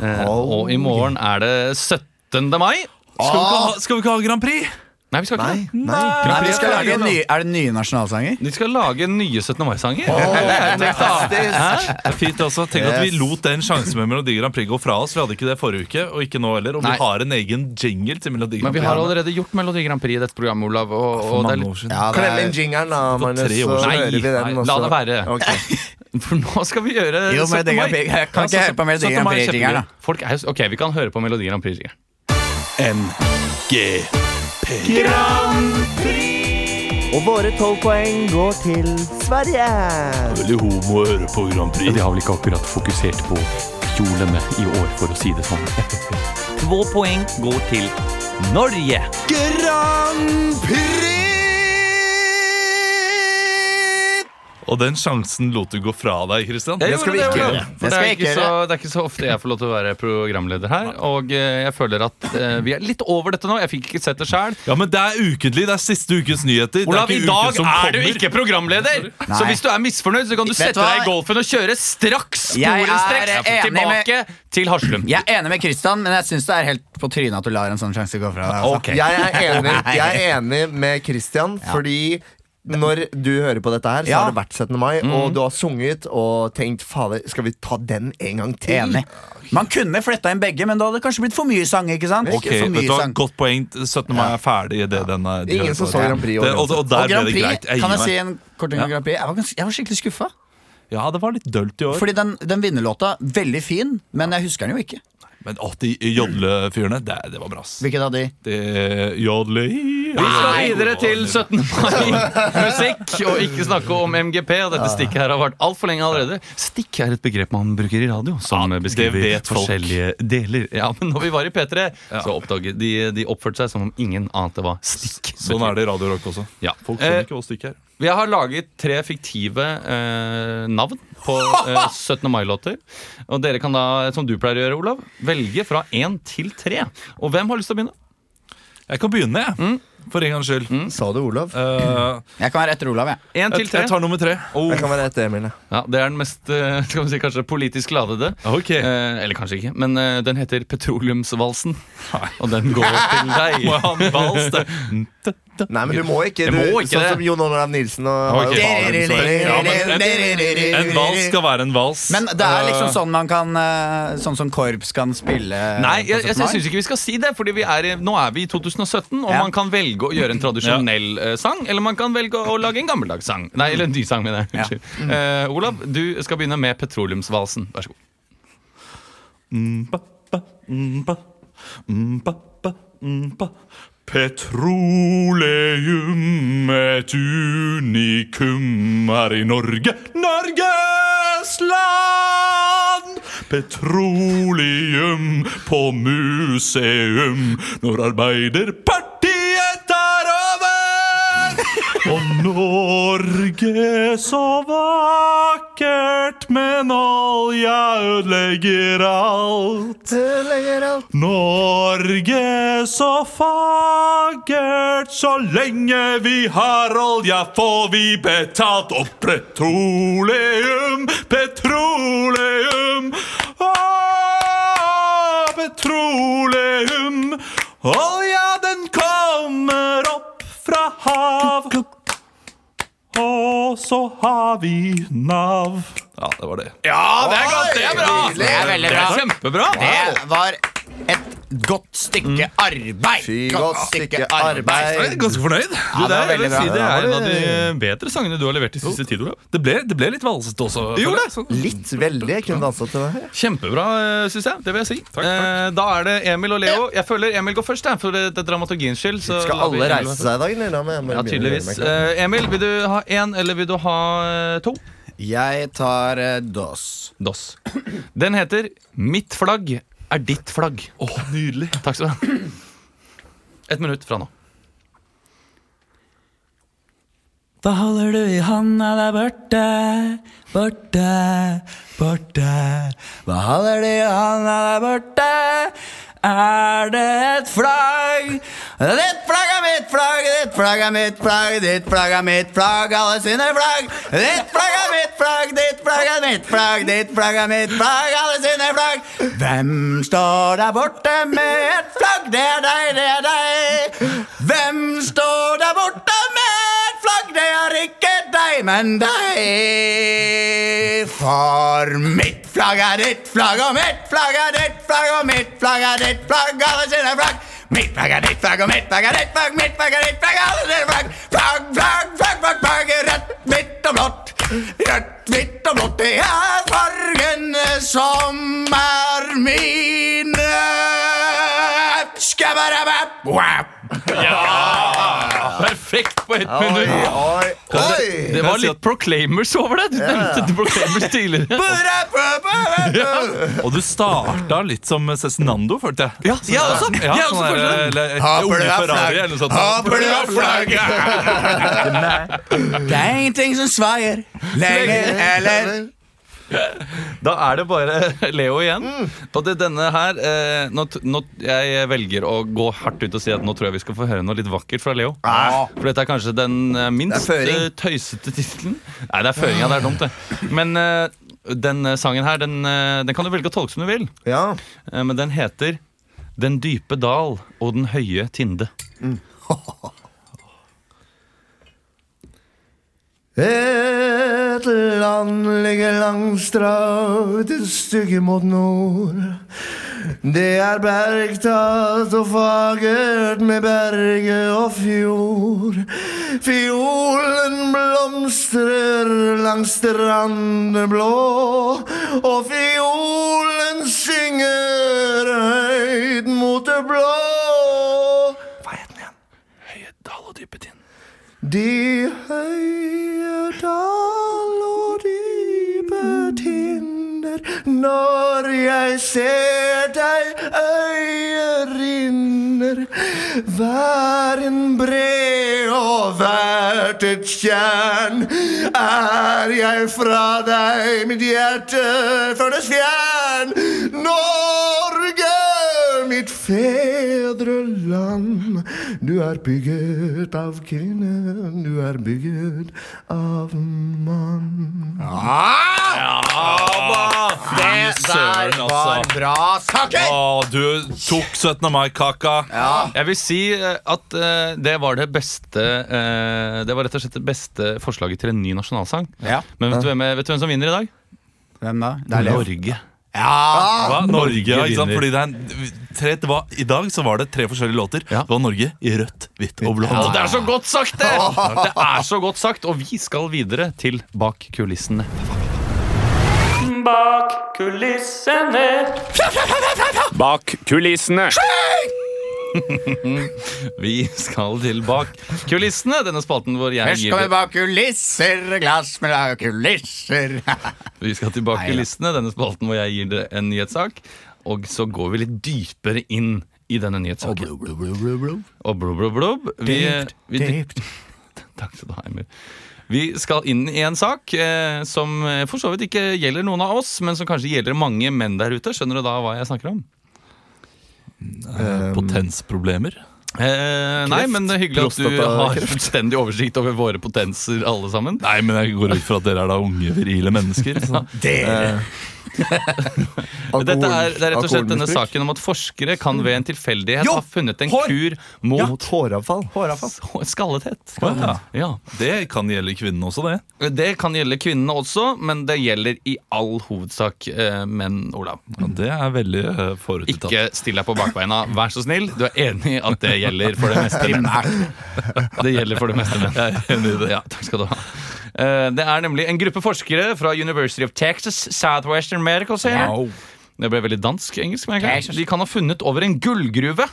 A: Eh,
D: Oh.
A: Og i morgen er det 17. mai.
B: Skal vi, ikke
D: Ah!
B: ha, skal vi ikke ha Grand Prix?
A: Nei, vi skal ikke det.
D: Nei.
C: Nei, vi skal
A: Ja,
C: lage
A: ja, ja.
C: nye, er det nye nasjonalsanger?
A: De skal lage nye 17. mai-sanger.
B: Det er fint også. Tenk at vi lot den sjansen med Melodi Grand Prix gå fra oss. Vi hadde ikke det forrige uke, og ikke nå heller. Og
A: Nei.
B: vi har en egen jingle til Melodi
A: Men
B: Grand
A: vi
B: Prix.
A: har allerede gjort Melodi Grand Prix i dette programmet, Olav. Og, og
B: for
A: det er
B: mange år
A: litt,
B: siden.
C: Ja, det
D: Klem
C: er-
D: inn jingeren, da,
B: For
D: Magnus.
B: tre
D: Så
B: år siden.
D: hører vi
B: Nei,
D: den.
A: nei,
D: og
A: la
D: så-
A: det være.
D: Ok.
A: for nå skal vi gjøre
C: Jo,
A: 17.
C: Melodi Grand
A: mai.
C: Prix. Jeg kan
A: Ja, 17.
C: ikke høre på Melodi
B: 17.
C: Grand
B: mai er
C: Prix-jingeren, da.
A: Folk er, jo- ok, vi kan høre på Melodi Grand Prix-jingeren.
D: Og våre tolv poeng går til Sverige.
B: Veldig homo å høre på Grand Prix.
F: har vel ikke akkurat fokusert på kjolene i år, for å si det sånn. Två poeng går til Norge.
B: Og den sjansen lot du gå fra deg, Christian.
A: Jeg
B: Det
A: gjorde
B: skal vi
A: det,
B: ikke
A: Olav.
B: gjøre.
A: For
C: Det
A: Det
C: skal
A: er,
C: jeg
A: ikke
C: ikke
A: så,
C: gjøre.
A: det er ikke så ofte jeg får lov til å være programleder her. Og eh, jeg føler at eh, vi er litt over dette nå. Jeg fikk ikke sett det sjøl.
B: Ja, men det er ukentlig. Det er siste ukens nyheter.
A: Olav,
B: det
A: i
B: er ikke
A: dag
B: uken som
A: er du
B: kommer.
A: ikke programleder! Så
C: Nei.
A: hvis du er misfornøyd, så kan du
C: Vet
A: sette
C: du hva?
A: deg i golfen og kjøre straks
C: Jeg er
A: sporenstreks
C: enig med-
A: tilbake til Haslum.
C: Jeg er enig med Kristian, men jeg syns det er helt på trynet at du lar en sånn sjanse gå fra deg. altså.
B: Ok.
D: Jeg er enig, jeg er enig med Christian, fordi når du hører på dette her, så
C: Ja.
D: har det vært 17. mai, og du har sunget og tenkt fader, skal vi ta den en gang til?
C: Enig. Man kunne fletta inn begge, men da hadde det kanskje blitt for mye sang. ikke sant?
B: Ok,
C: for
B: vet
C: mye
B: du hva,
C: sang.
B: Godt poeng. 17. mai er ferdig. i Det, den er, de
D: Ingen
B: hører
D: som
B: på.
D: så Grand Prix i år,
B: Det, og, og der
C: Og
B: ble
C: Grand
B: det
C: Prix,
B: greit. Jeg
C: kan
B: gir
C: jeg si
B: meg.
C: en kort ting om Grand Prix? Jeg var, ganske, jeg var skikkelig skuffa.
B: Ja, det var litt dølt i år.
C: Fordi den, den vinnerlåta, veldig fin, men jeg husker den jo ikke.
B: Men å, de jodlefyrene, det, det var bra. ass.
C: Hvilket av de?
B: Det jodle...
A: Vi skal videre til 17. mai-musikk og ikke snakke om MGP. Og dette stikket her har vært altfor lenge allerede. Stikk er et begrep man bruker i radio som
B: Ja, det
A: beskriver
B: vet folk.
A: forskjellige deler. Ja, Men når vi var i P3, så oppdaget de, de oppførte seg som om ingen ante hva stikk
B: Sånn er det i Radio Rock også.
A: Ja.
B: Folk
A: Eh,
B: skjønner ikke hva stykket er.
A: Jeg har laget tre fiktive eh, navn på eh, 17. mai-låter. Og dere kan da, som du pleier å gjøre, Olav, velge fra én til tre. Og hvem har lyst til å begynne?
B: Jeg kan begynne, jeg.
A: Mm.
B: For en gangs skyld.
D: Sa du Olav?
B: Eh,
C: Jeg kan være etter Olav, jeg.
A: En til
B: jeg,
A: tre.
B: jeg tar nummer tre.
D: Jeg kan være etter Emil. jeg.
A: Ja, det er den mest eh, skal vi si, kanskje politisk ladede.
B: Oh. Ok.
A: Eh, eller kanskje ikke, men eh, den heter Petroleumsvalsen. Og den går til deg.
B: Må jeg ha en vals, det?
D: Nei, men du må ikke.
A: Jeg
D: Du,
A: må ikke
D: sånn
A: det.
D: som Jon Olav Nilsen. Og,
B: Ok. Ja, men en, en vals skal være en vals.
C: Men det er liksom
A: Øh.
B: Eh,
C: sånn man kan eh, Sånn som korps kan spille eh,
A: Nei, jeg,
C: på
A: jeg,
C: 17. mai.
A: jeg syns ikke vi skal si det. Fordi vi er, i- Nå er vi i 2017, og
C: Ja.
A: man kan velge å gjøre en tradisjonell eh, sang. Eller man kan velge å lage en gammeldagssang. Nei, eller en ny sang, mener jeg.
C: Ja.
A: Unnskyld. Eh, Olav, du skal begynne med Petroleumsvalsen. Vær så god.
B: Mpa, mpa, mpa, mpa. Petroleum, et unikum her i Norge, Norges land! Petroleum på museum når Arbeiderpartiet tar over! Og Norge så vakkert, men olja ødelegger alt. Norge så fagert, så lenge vi har olja får vi betalt. Og petroleum, petroleum, ah, petroleum. Olja den kommer opp fra hav, og så har vi nav. Ja, det var det.
A: Ja, det er godt! Det er bra!
C: Det er veldig bra.
A: Kjempebra.
C: Det var et
A: Mm.
C: godt stykke arbeid!
D: Fy, godt stykke arbeid.
B: Jeg er ganske fornøyd.
C: det var veldig bra.
B: det
D: Ja,
B: er
D: det
B: en
D: var
B: av de bedre sangene du har levert i siste tid. Olav. Det ble, det ble litt valsete også.
A: Gjorde det?
B: Sånn.
D: Litt veldig. Jeg kunne dansa til det her.
A: Kjempebra, syns jeg. Det vil jeg si.
B: takk.
A: Eh, da er det Emil og Leo. Jeg føler Emil går først, jeg, for det, det er dramaturgiens skyld. så
D: Skal
A: lar vi
D: alle
A: Emil
D: reise seg i dag? eller? Da må jeg bare
A: Ja,
D: begynne
A: tydeligvis.
D: med meg.
A: Eh, Emil, vil du ha én, eller vil du ha eh, to?
C: Jeg tar eh, DOS.
A: Dos. Den heter 'Mitt flagg er ditt flagg'.
B: Åh, nydelig.
A: Takk skal du ha. Ett minutt fra nå.
G: Hva holder du i hånda der borte, borte, borte? Hva holder du i hånda der borte? Er det et flagg?
C: Ditt flagg er mitt flagg, ditt flagg er mitt flagg, ditt flagg er mitt flagg, alle sine flagg. Ditt flagg er mitt flagg, ditt flagg er mitt flagg, ditt flagg er mitt flagg, alle sine flagg. Hvem står der borte med et flagg? Det er deg, det er deg. Hvem står der borte med et flagg? Det er ikke deg, men deg. For mitt flagg er ditt flagg, og mitt flagg er ditt flagg, og mitt flagg er ditt flagg, alle sine flagg. Mitt flagg er ditt flagg, og mitt flagg er ditt flagg, mitt flagg er ditt flagg, alle dere flagg. Flagg, flagg, flagg, flagg, flagg, rødt, hvitt og blått. Rødt, hvitt og blått, det er fargene som er mine. Skabarabab, wap.
A: Perfekt på ett minutt!
D: Oi, oi,
A: Det
D: oi!
A: var litt Proclaimers over det. Du nevnte Proclaimers tidligere.
B: Og du starta litt som Cezinando, følte jeg.
A: Ja, jeg også.
B: Ja,
A: Jeg også
B: sånn der,
A: følte det.
B: eller-
C: Håper du
B: Unge
C: har
B: Ferrari
C: flagg,
B: eller noe sånt.
C: håper du har flagg. Det er ingenting som svaier lenger, eller
A: Da er det bare Leo igjen.
D: Mm.
A: Og det er denne her eh, nå, t- nå, Jeg velger å gå hardt ut og si at nå tror jeg vi skal få høre noe litt vakkert fra Leo. For dette er kanskje den eh, minst
D: Ah. Det er føring.
A: eh, tøysete tittelen. Nei, det er føringa. Det er dumt, det. Men eh, den eh, sangen her, den, eh, den kan du velge å tolke som du vil.
D: Ja.
A: Eh, men den heter Den dype dal og den høye tinde.
D: Et land ligger langstrakt et stykke mot nord. Det er bergtatt og fagert med berge og fjord. Fiolen blomstrer langs strandene blå, og fiolen synger høyt mot det blå. Hva het den igjen?
A: Dal og dype tinde.
D: De høye dal og dype tinder Når jeg ser deg øyet rinner Hver en bre og hvert et tjern er jeg fra deg, mitt hjerte føres fjern. Norge, mitt fedreland. Du er bygget av kvinne, du er bygget av mann.
B: Det der var
A: altså.
C: bra saker!
B: Å, du tok 17. mai-kaka.
A: Jeg vil si eh, at eh, det var det beste eh, Det var rett og slett det beste forslaget til en ny nasjonalsang.
C: Ja.
A: Men vet du, hvem, vet du hvem som vinner i dag?
C: Hvem da? Det er Leo.
A: Norge.
C: Ja!
B: Hva? Norge, ikke sant?
A: vinner.
B: Fordi det er en, tre, det var, I dag så var det tre forskjellige låter.
A: Ja.
B: Det var Norge i rødt, hvitt og blått.
A: Å, det er så godt sagt, det! Det er så godt sagt, Og vi skal videre til Bak kulissene.
G: Bak kulissene.
E: Bak kulissene.
A: Vi skal til Bak kulissene, denne spalten hvor jeg
C: Først
A: gir
C: kommer bak kulisser, glass med lag kulisser.
A: Vi skal tilbake i listene, denne spalten hvor jeg gir det en nyhetssak. Og så går vi litt dypere inn i denne nyhetssaken. Og blub, blub, blub. Vi, eh, vi, Takk skal du ha, Emil. Vi skal inn i en sak eh, som eh, for så vidt ikke gjelder noen av oss, men som kanskje gjelder mange menn der ute. Skjønner du da hva jeg snakker om?
B: Potensproblemer.
A: Eh, nei, men det er hyggelig at du har
D: prostatakreft.
A: fullstendig oversikt over våre potenser, alle sammen.
B: Nei, men jeg går ut fra at dere er da unge, virile mennesker. Så.
A: Dette er, det er rett og slett denne
D: alkoholmisbruk.
A: saken om at forskere kan ved en tilfeldighet
C: Jo!
A: ha funnet en
C: Hår!
A: kur mot
D: Mot håravfall.
A: Så- Skallethet.
B: Å, ja.
A: Ja.
B: Det kan gjelde kvinnen også, det.
A: Det kan gjelde kvinnene også, men det gjelder i all hovedsak eh, menn, Olav.
B: Ja, det er veldig uh, forutinntatt.
A: Ikke still deg på bakbeina, vær så snill. Du er enig i at det gjelder for det meste menn? Det gjelder for det meste menn. Ja, takk skal du ha. Eh, Det er nemlig en gruppe forskere fra University of Texas Southwestern Medical Center
B: Au.
A: Det ble veldig dansk-engelsk. men jeg kan- De kan ha funnet over en gullgruve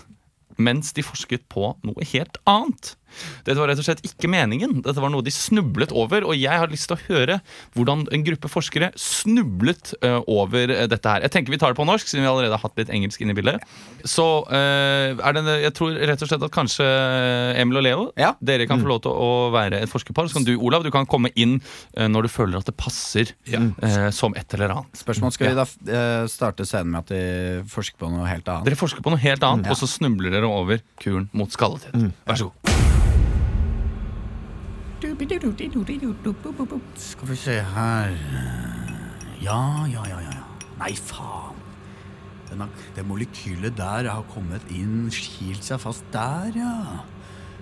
A: mens de forsket på noe helt annet. Dette var rett og slett ikke meningen. Dette var noe de snublet over, og jeg har lyst til å høre hvordan en gruppe forskere snublet eh, over eh, dette her. Jeg tenker vi tar det på norsk, siden vi allerede har hatt litt engelsk inne i bildet. Så eh, er det en- Jeg tror rett og slett at kanskje eh, Emil og Leo,
C: Ja.
A: dere kan få lov til å være et forskerpar. Så kan du, Olav, du kan komme inn eh, når du føler at det passer eh, som et eller annet.
C: Spørsmål, skal vi da eh, starte scenen med at de forsker på noe helt annet?
A: Dere forsker på noe helt annet, og så snubler dere over kuren mot skallethet. Vær så god.
C: Skal vi se her Ja, ja, ja, ja. Nei, faen. Den har, det molekylet der har kommet inn, kilt seg fast der, ja.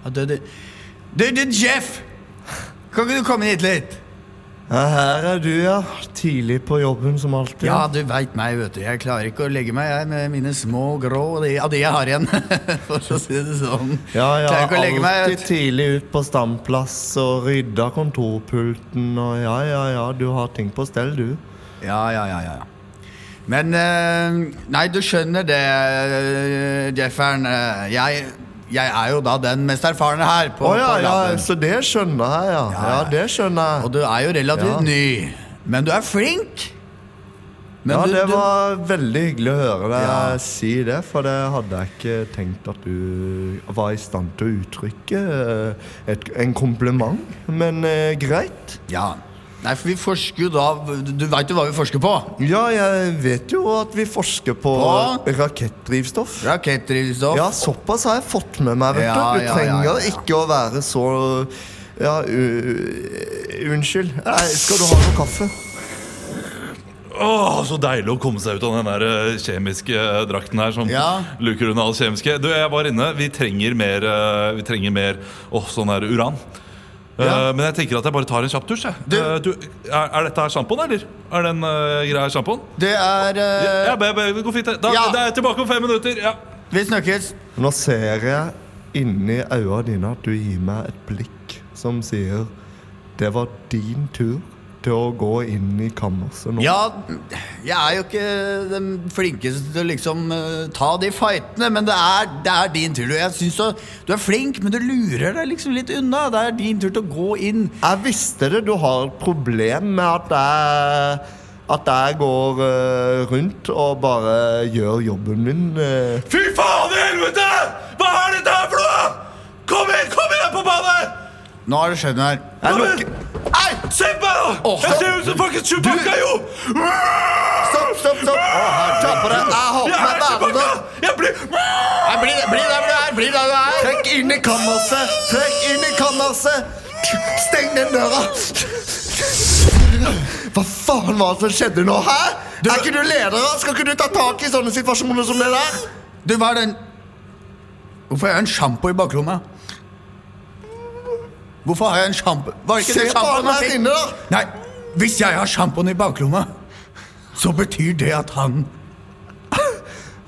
C: ja det, det. Du, du, Jeff! Kan ikke du komme hit litt?
D: Ja, her er du, ja. Tidlig på jobben som alltid.
C: Ja, du veit meg, vet du. Jeg klarer ikke å legge meg, jeg, med mine små grå og de, av de jeg har igjen. For å si det sånn.
D: Ja, jeg
C: klarer
D: har
C: ikke å legge meg.
D: alltid
C: Vet.
D: tidlig ut på standplass og rydda kontorpulten og ja, ja, ja, du har ting på stell, du.
C: du. Ja, ja, ja, ja. Men eh, Nei, du skjønner det, eh, Jeffern. Eh, Jeg, jeg er jo da den mest erfarne her. På,
D: Å ja,
C: på
D: ja,
C: laben.
D: så det skjønner jeg, ja.
C: Ja,
D: Ja,
C: ja.
D: det
C: Og
D: skjønner jeg.
C: du er jo relativt
D: Ja.
C: ny, men du er flink. Men
D: Ja,
C: du-
D: det
C: du-
D: var veldig hyggelig å høre deg
C: Ja.
D: si det, for det hadde jeg ikke tenkt at du var i stand til å uttrykke eh, et, en kompliment, men eh, greit.
C: Ja. Nei, for vi forsker jo da Du veit jo hva vi forsker på?
D: Ja, jeg vet jo at vi forsker på
C: På?
D: rakettdrivstoff.
C: Rakettdrivstoff.
D: Ja, såpass har jeg fått med meg, vet du.
C: Ja,
D: Du
C: ja, ja,
D: trenger
C: ja, ja.
D: ikke å være så Ja, u- unnskyld. Nei, skal du ha noe kaffe?
B: Åh, så deilig å komme seg ut av den der eh, kjemiske eh, drakten her som
C: Ja.
B: luker unna alt kjemiske. Du, jeg var inne. Vi trenger mer, eh, vi trenger mer åh, sånn der uran. Eh,
D: Ja.
B: Men jeg tenker at jeg bare tar en kjapp dusj. Jeg.
C: Du-
B: Eh, du, er, er dette her sjampoen, eller? Er den eh, greia her sjampoen?
C: Det er eh,
B: ja, be, be, det går fint. det. Da,
C: ja.
B: Det er tilbake om fem minutter. Ja.
C: Vi snakkes.
D: Nå ser jeg inni øynene dine at du gir meg et blikk som sier Det var din tur til å gå inn i kammerset nå.
C: Ja, jeg er jo ikke den flinkeste til å liksom eh, ta de fightene, men det er, det er din tur. Jeg synes du, du er flink, men du lurer deg liksom litt unna. Det er din tur til å gå inn.
D: Jeg visste det. Du har et problem med at jeg, at jeg går eh, rundt og bare gjør jobben min. eh.
B: Fy faen i helvete! Hva er dette her for
C: Nå har det skjedd noe her. Jeg lukker Ei!
B: Se på meg, da!
C: Åh,
B: Jeg ser ut som fuckings Chewbacca, jo!
C: Stopp, stopp, stopp! Å, her, ta på deg. Jeg
B: Jeg
C: holder
B: er
C: meg værende.
B: Chewbacca! Jeg blir
C: Nei, Bli, bli der du er! Bli der du er!
D: Trekk inn i kammerset! Trekk inn i kammerset! Steng den døra! Hva faen var det som skjedde nå? Hæ? Er ikke du leder? da? Skal ikke du ta tak i sånne situasjoner som det der?
C: Du, hva er den Hvorfor har jeg en sjampo i bakrommet? Hvorfor har jeg en sjampo Var ikke
D: Se
C: det
D: på han
C: sjampoen han
D: der
C: fikk?
D: inne, da!
C: Nei, hvis jeg har sjampoen i bakrommet, så betyr det at han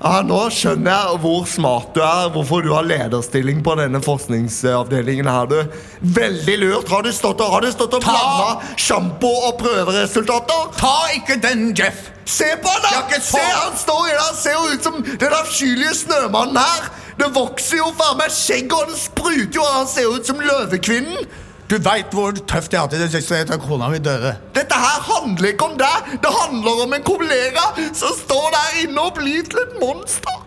D: Ja, Nå skjønner jeg hvor smart du er, hvorfor du har lederstilling på denne forskningsavdelingen her, du. Veldig lurt. Har du stått og, har du stått og
C: Ta-
D: blanda sjampo og prøveresultater?
C: Ta ikke den, Jeff!
D: Se på han,
C: Jeg har
D: da!
C: ikke
D: Se,
C: så-
D: han står i det. Han ser jo ut som den avskyelige snømannen her. Det vokser jo faen meg skjegg, og det spruter jo, og han ser ut som løvekvinnen.
C: Du veit hvor tøft jeg har hatt det i det siste etter at kona mi døde.
D: Dette her handler ikke om deg. Det handler om en kollega som står der inne og blir til et monster.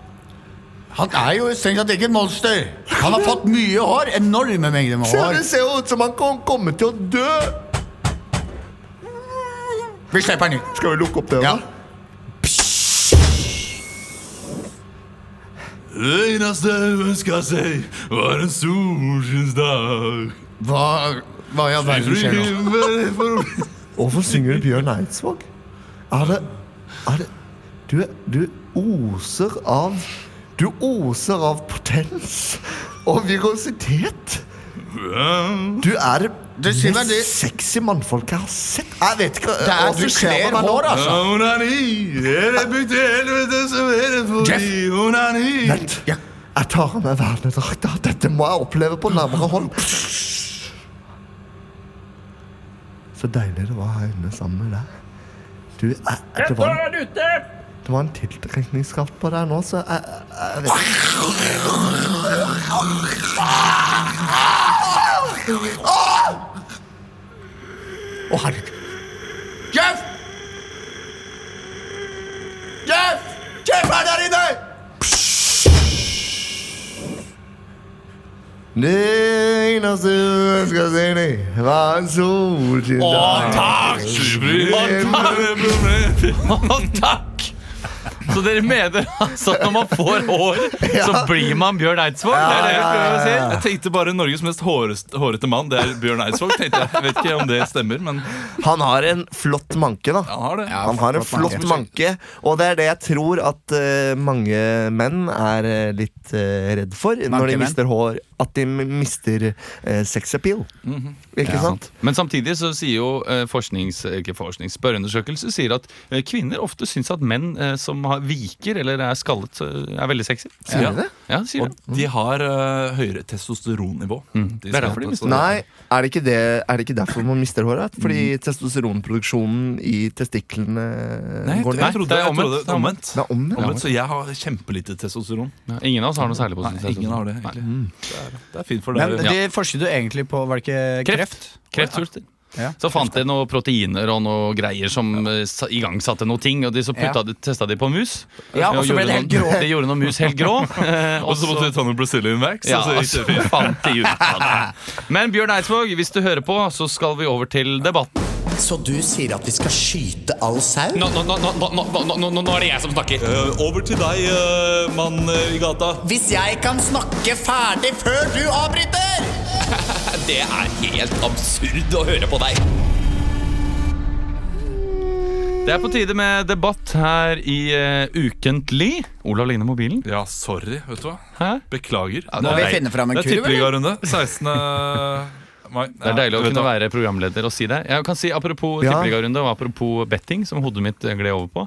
C: Han er jo strengt tatt ikke et monster. Han har fått mye hår. Enorme mengder med
D: Se,
C: hår.
D: det ser jo ut som han kan komme til å dø.
C: Vi slipper han ut.
D: Skal vi lukke opp døra?
C: Ja.
B: Det eneste jeg ønska seg, var en solskinnsdag.
C: Hva, hva i all verden skjer nå?
D: Hvorfor synger du Bjørn Eidsvåg? Er det Er det Du, du oser av Du oser av potens og virositet. Du er det
C: Du, Simen,
D: mest
C: du-
D: sexy mannfolket jeg har sett. Jeg vet ikke
C: Det er du kler hår, altså.
B: Onani er det bygd til helvete som er det fordi
C: Jeff.
B: onani
D: Vent.
C: Ja.
D: Jeg tar av meg vernedrakta. Dette må jeg oppleve på nærmere hold. Så deilig det var her inne sammen med deg. Du, jeg, det var en, det var en tiltrekningskraft på deg nå, så jeg, jeg vet ikke.
C: Å, herregud. Jeff! Jeff! Jeff er der inne!
D: Det eneste du ønsker å si deg, var en solskinnsdag.
A: Takk! Takk! Så dere mener altså at når man får hår, så blir man Bjørn Eidsvåg? Det er det jeg prøver å si.
B: Jeg tenkte bare Norges mest hårest- hårete mann, det er Bjørn Eidsvåg. tenkte Jeg Jeg vet ikke om det stemmer, men
D: Han har en flott manke, da.
B: han har det.
D: Han har en flott manke, og det er det jeg tror at eh, mange menn er eh, litt eh, redd for når de
C: Mankemenn?
D: mister hår. At de m- mister uh, sex appeal. Ikke sant?
A: Men samtidig så sier jo eh, forsknings, ikke forsknings, spørreundersøkelser sier at eh, kvinner ofte syns at menn eh, som har viker eller er skallet, eh, er veldig sexy.
D: Sier de det?
A: Ja, de sier
B: Og
A: det.
B: de har eh, høyere testosteronnivå.
C: Mm.
B: De
A: Det er
B: skal
A: derfor de
B: ha
A: mister
B: testosteron.
D: Nei, er det ikke, det, er det ikke derfor man mister håret? Fordi testosteronproduksjonen i testiklene eh,
B: Nei, jeg,
D: går
B: jeg,
D: ned?
B: trodde,
A: Det er
B: jeg
A: omvendt.
B: trodde det var omvendt.
D: Det er omvendt.
B: omvendt. Så jeg har kjempelite testosteron.
A: Ja, ingen av oss har noe særlig på
B: Nei,
A: sin
B: ingen har det, egentlig. Det, er, det er fint for
C: Men
B: deg.
C: de forsket jo egentlig på Var det ikke
A: Kreft.
C: kreft?
A: Kreftsulter.
C: Ja.
A: Så fant de noen proteiner og noe greier som eh, sa- igangsatte noe ting. Og de så putta
C: Ja.
A: de, testa de på mus.
C: Ja, og så ble
A: gjorde
C: det helt
A: noen-
C: grå.
A: De gjorde noen mus helt grå. eh,
B: Og så måtte vi ta noen Brazilian wax.
A: ja,
B: og så gikk
A: altså,
B: det fint.
A: fant de ut av det. Men Bjørn Eidsvåg, hvis du hører på, så skal vi over til debatten.
H: Så du sier at vi skal skyte all sau?
F: Nå er det jeg som snakker.
B: Eh, over til deg, eh, mann eh, i gata.
H: Hvis jeg kan snakke ferdig før du avbryter!
F: Det er helt absurd å høre på deg.
A: Det er på tide med debatt her i eh, Ukentlig. Olav ligner mobilen.
B: Ja, sorry. Vet du hva?
A: Hæ?
B: Beklager.
A: Må
C: Må
A: vi
C: vi
A: Nei.
C: finne fram en
B: det er
C: kurv, eller?
B: tippeligarunde. 16. mai.
A: Det er deilig å kunne
B: være
A: være programleder og si det. Jeg kan si Apropos
D: Ja.
A: tippeligarunde og apropos betting, som hodet mitt eh, gled over på,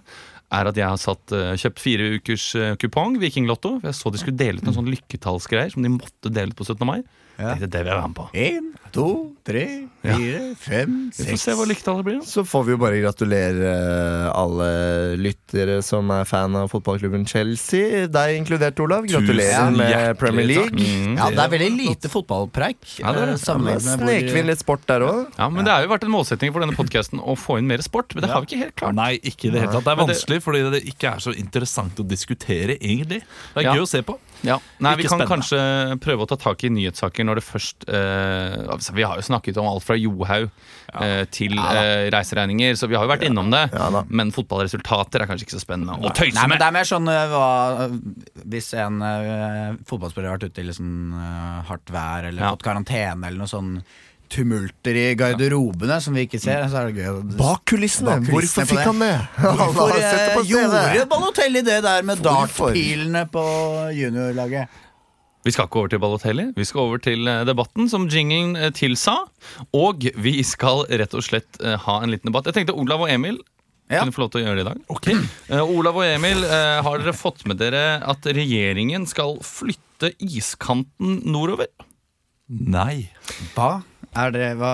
A: er at jeg har satt, eh, kjøpt fire ukers eh, kupong, Vikinglotto. For jeg så de skulle dele ut noen sånne lykketallsgreier som de måtte dele ut på 17. mai. Jeg tenkte, det vil jeg være med på.
C: En, to, tre, fire, fem,
A: Vi får
C: seks
A: se hva lykketallet blir. da.
D: Så får vi jo bare gratulere eh, alle lyttere som er fan av fotballklubben Chelsea. Deg inkludert, Olav. Gratulerer
B: Tusen
D: med
B: hjertelig
D: Premier League.
B: takk.
C: Ja, det er veldig lite fotballpreik.
A: Ja, det er det.
C: eh, sammenlignet med hvor-
D: Sneker vi inn litt sport der òg?
A: Ja, men Det har jo vært en målsetting for denne podkasten å få inn mer sport. Men det har vi ikke helt klart.
B: Nei, ikke i det hele tatt. Det er
A: Men det-
B: vanskelig fordi det ikke er så interessant å diskutere, egentlig. Det er
A: Ja.
B: gøy å se på.
A: Ja. Nei,
G: Ikke
A: Vi kan
G: spennende.
A: kanskje prøve å ta tak i nyhetssaker når det først eh, altså, Vi har jo snakket om alt fra Johaug eh, til eh, reiseregninger, så vi har jo vært innom det. men fotballresultater er kanskje ikke så spennende å tøyse
I: Nei, men
A: med.
I: det er mer sånn øh, hva, øh, Hvis en øh, fotballspiller har vært ute i litt sånn øh, hardt vær eller
A: Ja.
I: fått karantene eller noe sånn tumulter i garderobene som vi ikke ser, så er det gøy. å-
D: Bak kulissene!
I: Bak kulissene på
D: Hvorfor fikk
I: det.
D: han eh, det? Han
I: Hvorfor
D: har sett det på
I: øh, gjorde
D: TV.
I: Balotelli det der med
D: Hvorfor?
I: dartpilene på juniorlaget?
A: Vi skal ikke over til Balotelli, vi skal over til eh, debatten som jinglen eh, tilsa. Og vi skal rett og slett eh, ha en liten debatt. Jeg tenkte Olav og Emil
I: Ja.
A: kunne få lov til å gjøre det i dag. Eh, Olav og Emil, eh, har dere fått med dere at regjeringen skal flytte iskanten nordover?
G: Nei.
I: Hva? Er det, hva,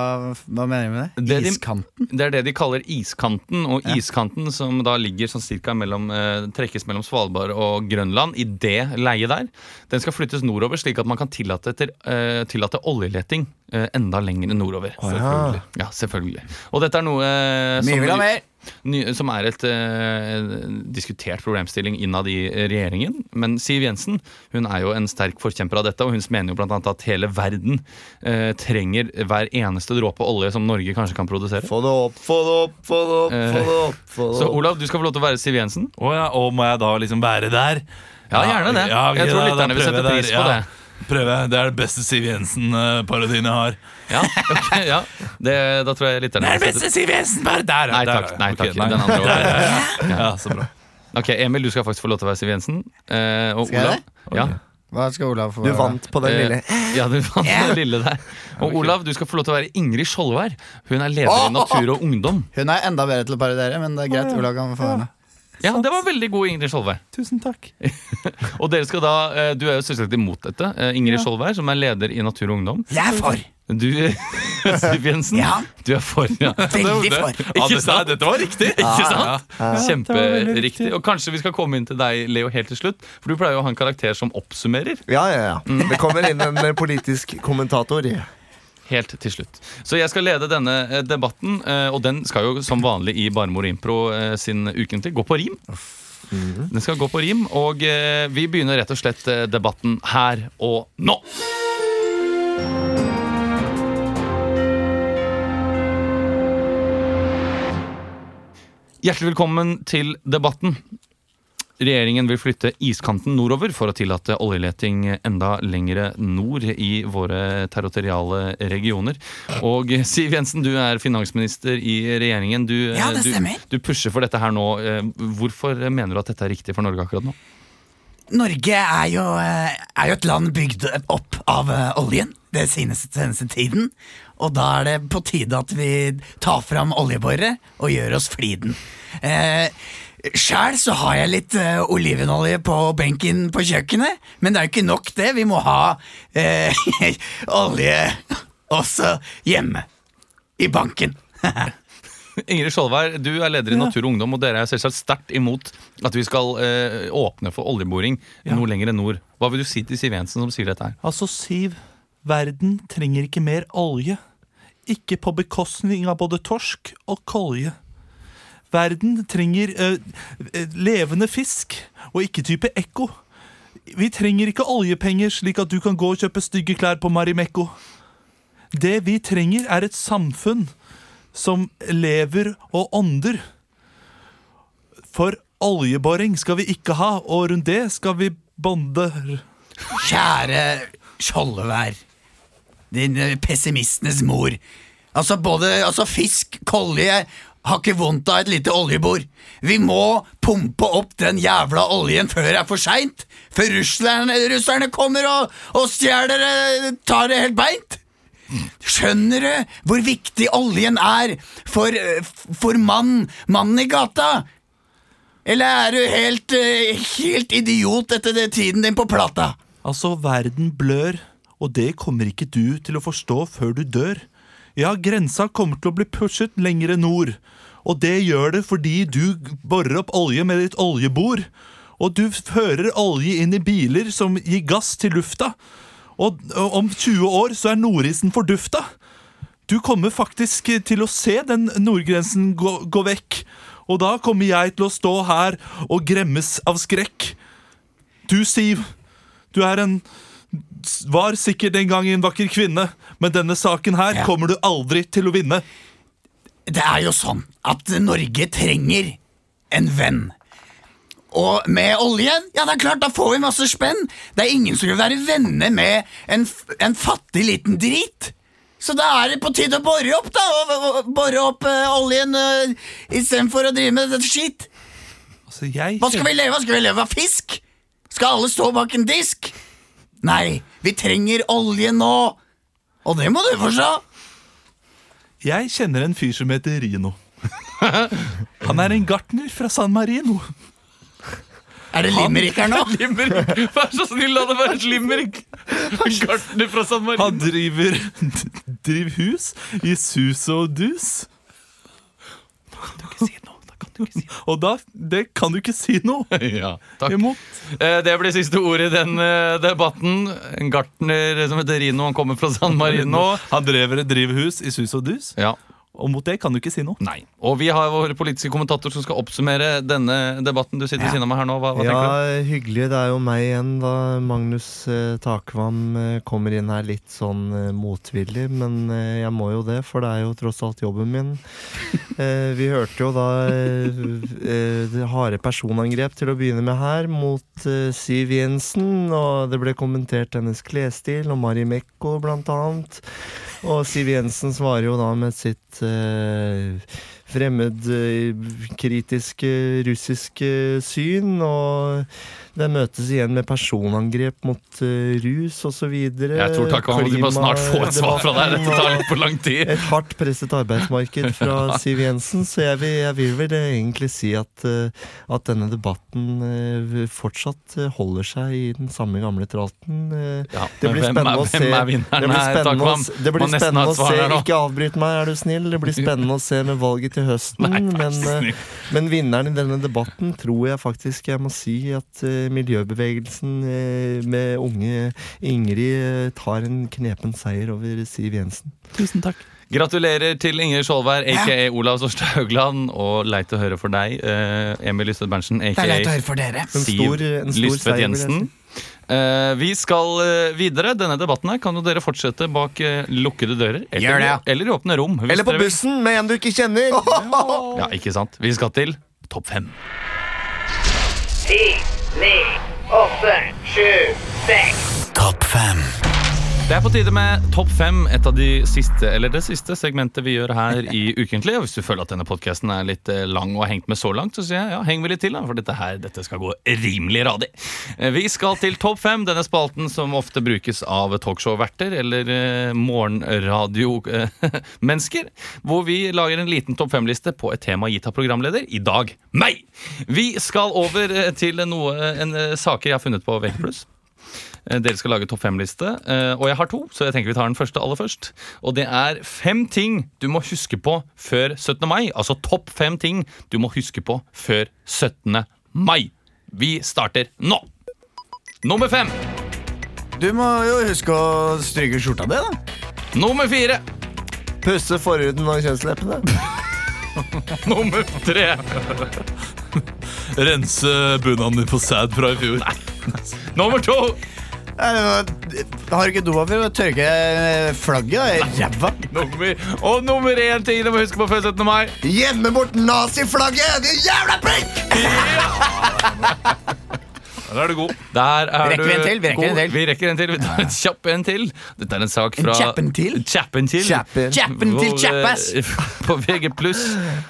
I: hva mener du med det?
A: Det de-
I: Iskanten?
A: Det er det de kaller iskanten, og iskanten som da ligger sånn cirka mellom, eh, trekkes mellom Svalbard og Grønland, i det leiet der, den skal flyttes nordover, slik at man kan tillate, etter, eh, tillate oljeleting eh, enda lenger nordover. Selvfølgelig. Ja, selvfølgelig. Og dette er noe eh,
I: Mye vil ha mer.
A: ny, som er et eh, diskutert problemstilling innad i regjeringen. Men Siv Jensen hun er jo en sterk forkjemper av dette, og hun mener jo bl.a. at hele verden eh, trenger hver eneste dråpe olje som Norge kanskje kan produsere.
D: Få det opp, få det opp, få det opp, få det opp. Få det
A: Så
D: opp.
A: Olav, du skal få lov til å være Siv Jensen.
G: Å ja, og må jeg da liksom være der?
A: Ja, gjerne det.
G: ok,
A: Jeg tror
G: da- da
A: lytterne vil
G: prøver
A: sette
G: jeg der.
A: pris på
G: Ja,
A: det.
G: Prøver jeg. Det er det beste Siv
B: eh,
G: Jensen-parodien jeg har.
A: Ja, ok, ja. Det, Da tror jeg lytterne vil sette-
G: Siv Jensen-parodien! Der, ja,
A: Nei
G: der,
A: takk.
G: ja.
A: nei
G: Ok,
A: takk Den andre var
G: Ja,
A: bedre.
G: ja, ja. ja, så bra.
A: Ok, Emil, du skal faktisk få lov til å være Siv Jensen. Eh, og
I: Skal jeg
A: Olav
I: det?
A: ja.
I: Hva skal Olav få
D: Du vant på den
A: Eh,
D: lille.
A: Ja, du fant den lille der. Og Olav, du skal få lov til å være Ingrid Skjoldvær. Hun er leder i Natur og Ungdom.
I: Hun er enda bedre til å parodiere, men det er greit. Olav kan få henne.
A: Ja, Det var veldig god Ingrid Skjoldvær.
G: Tusen takk.
A: Og dere skal da, eh, du er jo selvsagt imot dette. Eh, Ingrid Skjoldvær, som er leder i Natur og Ungdom.
I: Jeg er for!
A: Du, Siv Jensen,
I: Ja.
A: du er for. Ja.
I: Veldig for.
G: Ja,
A: Ikke
G: dette,
A: sant?
G: dette var riktig!
A: Ikke sant? Kjemperiktig. Og kanskje vi skal komme inn til deg, Leo, helt til slutt. For du pleier jo å ha en karakter som oppsummerer.
D: Ja, ja, ja.
A: mm.
D: Det kommer inn en eh, politisk kommentator.
A: Helt til slutt. Så jeg skal lede denne eh, debatten, eh, og den skal jo som vanlig i Barmor Impro eh, sin ukentlig gå på rim. Den skal gå på rim, og eh, vi begynner rett og slett eh, debatten her og nå. Hjertelig velkommen til debatten. Regjeringen vil flytte iskanten nordover for å tillate oljeleting enda lengre nord i våre territoriale regioner. Og Siv Jensen, du er finansminister i regjeringen. Du,
C: Ja, det
A: du,
C: stemmer.
A: du pusher for dette her nå. Eh, Hvorfor mener du at dette er riktig for Norge akkurat nå?
C: Norge er jo, eh, er jo et land bygd opp av eh, oljen det seneste, seneste tiden. Og da er det på tide at vi tar fram oljeborere og gjør oss fliden. Eh, Sjæl så har jeg litt eh, olivenolje på benken på kjøkkenet, men det er jo ikke nok, det. Vi må ha eh, olje også hjemme. I banken.
A: Ingrid Skjoldvær, du er leder i Natur og Ungdom, og dere er selvsagt sterkt imot at vi skal eh, åpne for oljeboring noe lenger enn nord. Hva vil du si til Siv Jensen som sier dette her?
G: Altså, Siv, verden trenger ikke mer olje. Ikke på bekostning av både torsk og kolje. Verden trenger eh, eh, levende fisk, og ikke type ekko. Vi trenger ikke oljepenger slik at du kan gå og kjøpe stygge klær på Marimekko. Det vi trenger, er et samfunn som lever og ånder. For oljeboring skal vi ikke ha, og rundt det skal vi bonde
C: Kjære Skjoldevær. Din eh, pessimistenes mor. Altså, både altså fisk, kolje har ikke vondt av et lite oljebord. Vi må pumpe opp den jævla oljen før det er for seint. Før russerne, russerne kommer og, og stjeler det, tar det helt beint. Skjønner du hvor viktig oljen er for, eh, f- for mann, mannen i gata? Eller er du helt, eh, helt idiot etter det tiden din på plata?
G: Altså, verden blør, og det kommer ikke du til å forstå før du dør. Ja, grensa kommer til å bli pushet lengre nord, og det gjør det fordi du borer opp olje med ditt oljebor, og du fører olje inn i biler som gir gass til lufta, og og om 20 år så er nordisen fordufta. Du kommer faktisk til å se den nordgrensen gå, gå vekk, og da kommer jeg til å stå her og gremmes av skrekk. Du, Siv,
B: Du er en var sikkert en gang en vakker kvinne, men denne saken her kommer du aldri til å vinne.
C: Det er jo sånn at Norge trenger en venn. Og med oljen, ja det er klart, da får vi masse spenn. Det er ingen som vil være venner med en, f- en fattig liten drit. Så da er det på tide å bore opp, da. Og, og, bore opp eh, oljen uh, istedenfor å drive med dette skitt.
B: Altså, jeg
C: Hva skal vi leve av? Skal vi leve av fisk? Skal alle stå bak en disk? Nei, vi trenger olje nå. Og det må du forstå.
B: Jeg kjenner en fyr som heter Rino. Han er en gartner fra San Marino.
C: Er det limerick her nå?
A: Limerick! Vær så snill, la det være et limerick! Gartner fra San Marino.
B: Han driver driver hus i sus og dus. Og da Det kan du ikke si noe
A: Ja, takk.
B: imot.
A: Eh, Det blir siste ordet i den eh, debatten. En gartner som heter Rino, han kommer fra San Marino.
B: Han driver et drivhus i sus og dus,
A: Ja,
B: og mot det kan du ikke si noe.
A: nei. Og vi har vår politiske kommentator som skal oppsummere denne debatten. Du sitter ved siden av meg her nå. Hva, hva
D: Ja,
A: tenker du?
D: hyggelig. Det er jo meg igjen, da. Magnus eh, Takvam eh, kommer inn her litt sånn eh, motvillig, men eh, jeg må jo det, for det er jo tross alt jobben min. Eh, vi hørte jo da eh, eh, det harde personangrep til å begynne med her mot eh, Siv Jensen, og det ble kommentert hennes klesstil og Mari Mekko blant annet. Og Siv Jensen svarer jo da med sitt eh, fremmedkritiske russiske syn, og det møtes igjen med personangrep mot eh, rus osv.
A: Jeg tror takk han må snart få et svar fra deg. Dette tar litt for lang tid.
D: Et hardt presset arbeidsmarked fra Siv Jensen, så jeg vil, jeg vil vel egentlig si at, eh, at denne debatten eh, fortsatt eh, holder seg i den samme gamle tralten. eh.
A: Ja,
D: Det
A: men
D: blir
A: hvem er-
D: spennende å se.
A: Hvem er
D: Det
A: vinneren
D: blir
A: her? Takk,
D: spennende å
A: man,
D: se, det
A: må
D: blir
A: nesten ha
D: spennende
A: et
D: å
A: svar
D: se.
A: her nå.
D: Ikke avbryt meg, er du snill. Det blir spennende å se med valget til høsten. Men, eh, men vinneren i denne debatten tror jeg faktisk jeg må si at eh, miljøbevegelsen eh, med unge Ingrid eh, tar en knepen seier over Siv Jensen.
B: Tusen takk.
A: Gratulerer til Inger Skjoldvær, aka Olav Storstad Haugland, og leit å høre for deg, eh, Emil Lystvedt Berntsen,
C: Det er leit
A: aka
C: å høre for dere.
A: Siv
D: En stor- en stor seier,
A: Lystvedt
D: vil jeg
A: Jensen. Eh, vi skal eh, videre. Denne debatten her kan jo dere fortsette bak eh, lukkede dører.
C: Gjør
A: Eller,
C: det.
A: eller i åpne rom. hvis
D: Eller på
A: dere vil.
D: bussen med en du ikke kjenner.
A: Ja, ikke sant? Vi skal til topp fem. Det er på tide med Topp fem, et av de siste, eller det siste segmentet vi gjør her i Ukentlig. Og hvis du føler at denne podkasten er litt eh, lang og har hengt med så langt, så sier jeg ja, heng vel litt til, da, for dette her, dette skal gå rimelig radig. Eh, Vi skal til Topp fem, denne spalten som ofte brukes av talkshow-verter eller eh, morgenradio-mennesker, hvor vi lager en liten Topp fem-liste på et tema gitt av programleder, i dag meg! Vi skal over eh, til noe, en, eh, saker jeg har funnet på VG+. Eh, Dere skal lage topp fem-liste, eh, og jeg har to. Så jeg tenker vi tar den første aller først. Og det er fem ting du må huske på før 17. mai. Altså topp fem ting du må huske på før 17. mai. Vi starter nå! Nummer fem.
C: Du må jo huske å stryke skjorta di, da.
A: Nummer fire.
D: Pusse forhuden og kjønnsleppene.
A: Nummer tre.
B: Rense bunaden din for sæd fra i fjor.
A: Nummer to.
C: Har du ikke dopapir, tørke flagget i ræva.
A: Nummer, og nummer én ting du må huske på før 17. mai.
D: Gjemme bort naziflagget! Det jævla prikk!
B: Der er du god.
A: Der er
C: Rekker vi en
A: du
C: til? Vi rekker en
A: god.
C: til.
A: Vi rekker en til. Vi tar en kjapp en til. Dette er en sak
C: En
A: fra
C: kjappen til?
A: Kjappen til.
D: Kjappen.
C: Kjappen til
A: Hvor,
C: kjappass.
A: eh, På VG+,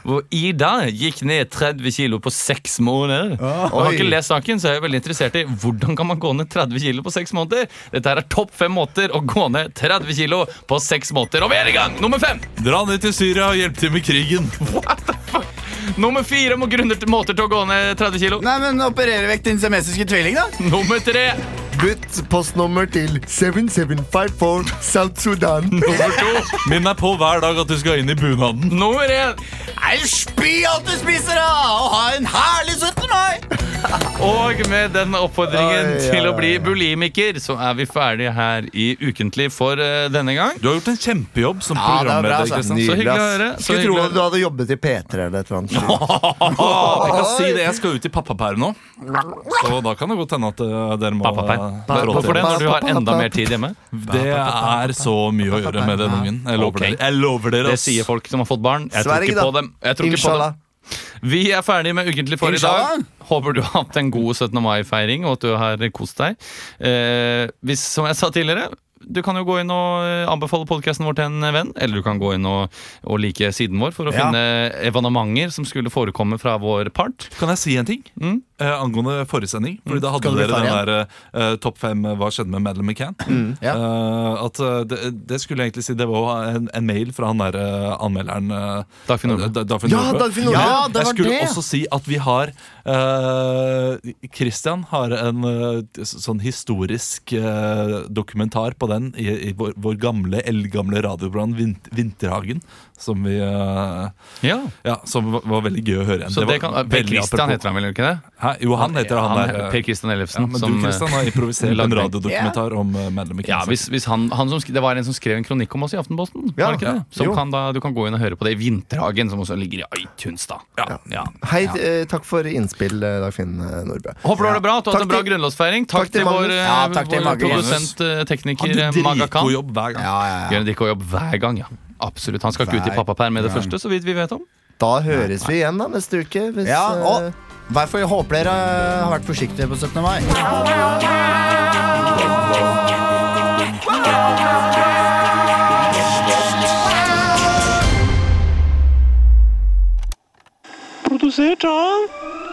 A: hvor Ida gikk ned 30 kilo på seks måneder. Og jeg har ikke lest saken, så jeg er veldig interessert i hvordan kan man gå ned 30 kilo på seks måneder. Dette her er topp fem måter å gå ned 30 kilo på seks måneder. Og vi er i gang! Nummer fem!
B: Dra ned til Syria og hjelp til med krigen.
A: Nummer fire må grunner til måter til å gå ned 30 kilo.
C: Nei, men Operere vekk din semestiske tvilling, da.
A: Nummer tre.
D: Bytt postnummer til 7754 South Sudan.
A: Nummer to.
B: Minn deg på hver dag at du skal inn i bunaden.
A: Nummer én.
C: Nei, Spy alt du spiser, da! Og ha en herlig 17. mai!
A: Og med den oppfordringen
D: Oi, ja,
A: til å
D: ja,
A: bli bulimiker, så er vi ferdige her i Ukentlig for eh, denne gang.
G: Du har gjort en kjempejobb som
C: Ja, det er bra,
G: programleder.
C: altså.
A: Så
G: Kristian.
D: Nydelig,
A: hyggelig å
D: ass.
A: høre. Så
D: Skulle tro
A: hyggelig å
D: at du hadde jobbet i P3 eller et eller annet.
G: Åh, jeg kan si det, jeg skal ut i pappaperm nå. Så da kan det godt hende at eh, dere må
A: Pappaperm.
G: eh, trå
A: Hvorfor
G: til.
A: det? Når du har enda mer tid hjemme?
G: Det er så mye å gjøre med den ungen. Jeg lover
A: Ok.
G: dere. Jeg lover dere
A: Det
G: ass.
A: sier folk som har fått barn. Jeg tror ikke
D: Sverige,
A: på
D: da.
A: dem. Jeg tror ikke på
D: Inshallah.
A: dem. Vi er ferdig med Ukentlig for i dag.
C: Inshallah.
A: Håper du har hatt en god 17. mai-feiring, og at du har kost deg. Eh, hvis, som jeg sa tidligere, du kan jo gå inn og eh, anbefale podkasten vår til en venn. Eller du kan gå inn og, og like siden vår for å
C: Ja.
A: finne evanementer som skulle forekomme fra vår part.
G: Kan jeg si en ting
D: Mm.
G: eh, angående forrige sending? Fordi da hadde
C: Skal du bli
G: dere den
C: ferdig
G: der eh, topp fem eh, Hva skjedde med Madeleine McCann?
D: Mm,
G: Eh, at eh, det, det skulle jeg egentlig si Det var en, en mail fra han der eh, anmelderen eh,
A: Dagfinn Nordbø.
G: Da- Dagfinn
D: Ja,
G: Nordbø.
D: Dagfinn Nordbø. Ja, det
G: jeg
D: var
G: skulle
D: det.
G: også si at vi har eh, Christian har en eh, s- sånn historisk eh, dokumentar på den i, i vår, vår gamle, eldgamle radioprogram Vint, Vinterhagen, som vi eh,
A: Ja,
G: ja, som var, var veldig gøy å høre igjen.
A: så
G: var
A: det kan, Per
G: veldig
A: Christian
G: apropos.
A: heter han vel, ikke det?
G: Hæ? Jo, han heter han, der.
A: Per Christian Ellefsen.
G: ja, men
A: som,
G: du,
A: eh,
G: Christian, har improvisert
A: lagde
G: en
A: den.
G: radiodokumentar om uh, Madeleine
A: Ja,
G: McKenzie.
A: hvis, hvis han, han som, sk- det var en som skrev en kronikk om oss i Aftenposten.
D: Ja,
A: var det ikke det? Som
D: jo.
A: kan da, du kan gå inn og høre på det i Vinterhagen, som også ligger i iTunes. da
G: Ja, ja.
D: Hei, eh, takk for innspill, eh, Dagfinn eh, Nordbø.
A: Håper du har det bra. at Du har hatt
D: Takk
A: en bra
D: til-
A: grunnlovsfeiring. Takk,
D: takk til
A: til vår,
D: Magnus.
A: eh,
C: Ja, takk til
A: vår
C: Magnus.
A: produsent, eh,
G: Han
A: tekniker eh,
G: gjør
A: Maga Khan.
G: dritgod jobb hver gang.
C: Ja, ja, ja.
A: Gjør en dritgod jobb hver gang, ja. Absolutt. Han skal ikke ut i
C: Hver
A: pappaperm med det
C: gang.
A: første, så vidt vi vet om.
D: Da høres vi igjen da neste uke. Hvis,
C: Ja,
D: eh,
C: og Derfor jeg håper dere eh, har vært forsiktige på 17. mai.
J: Produsert av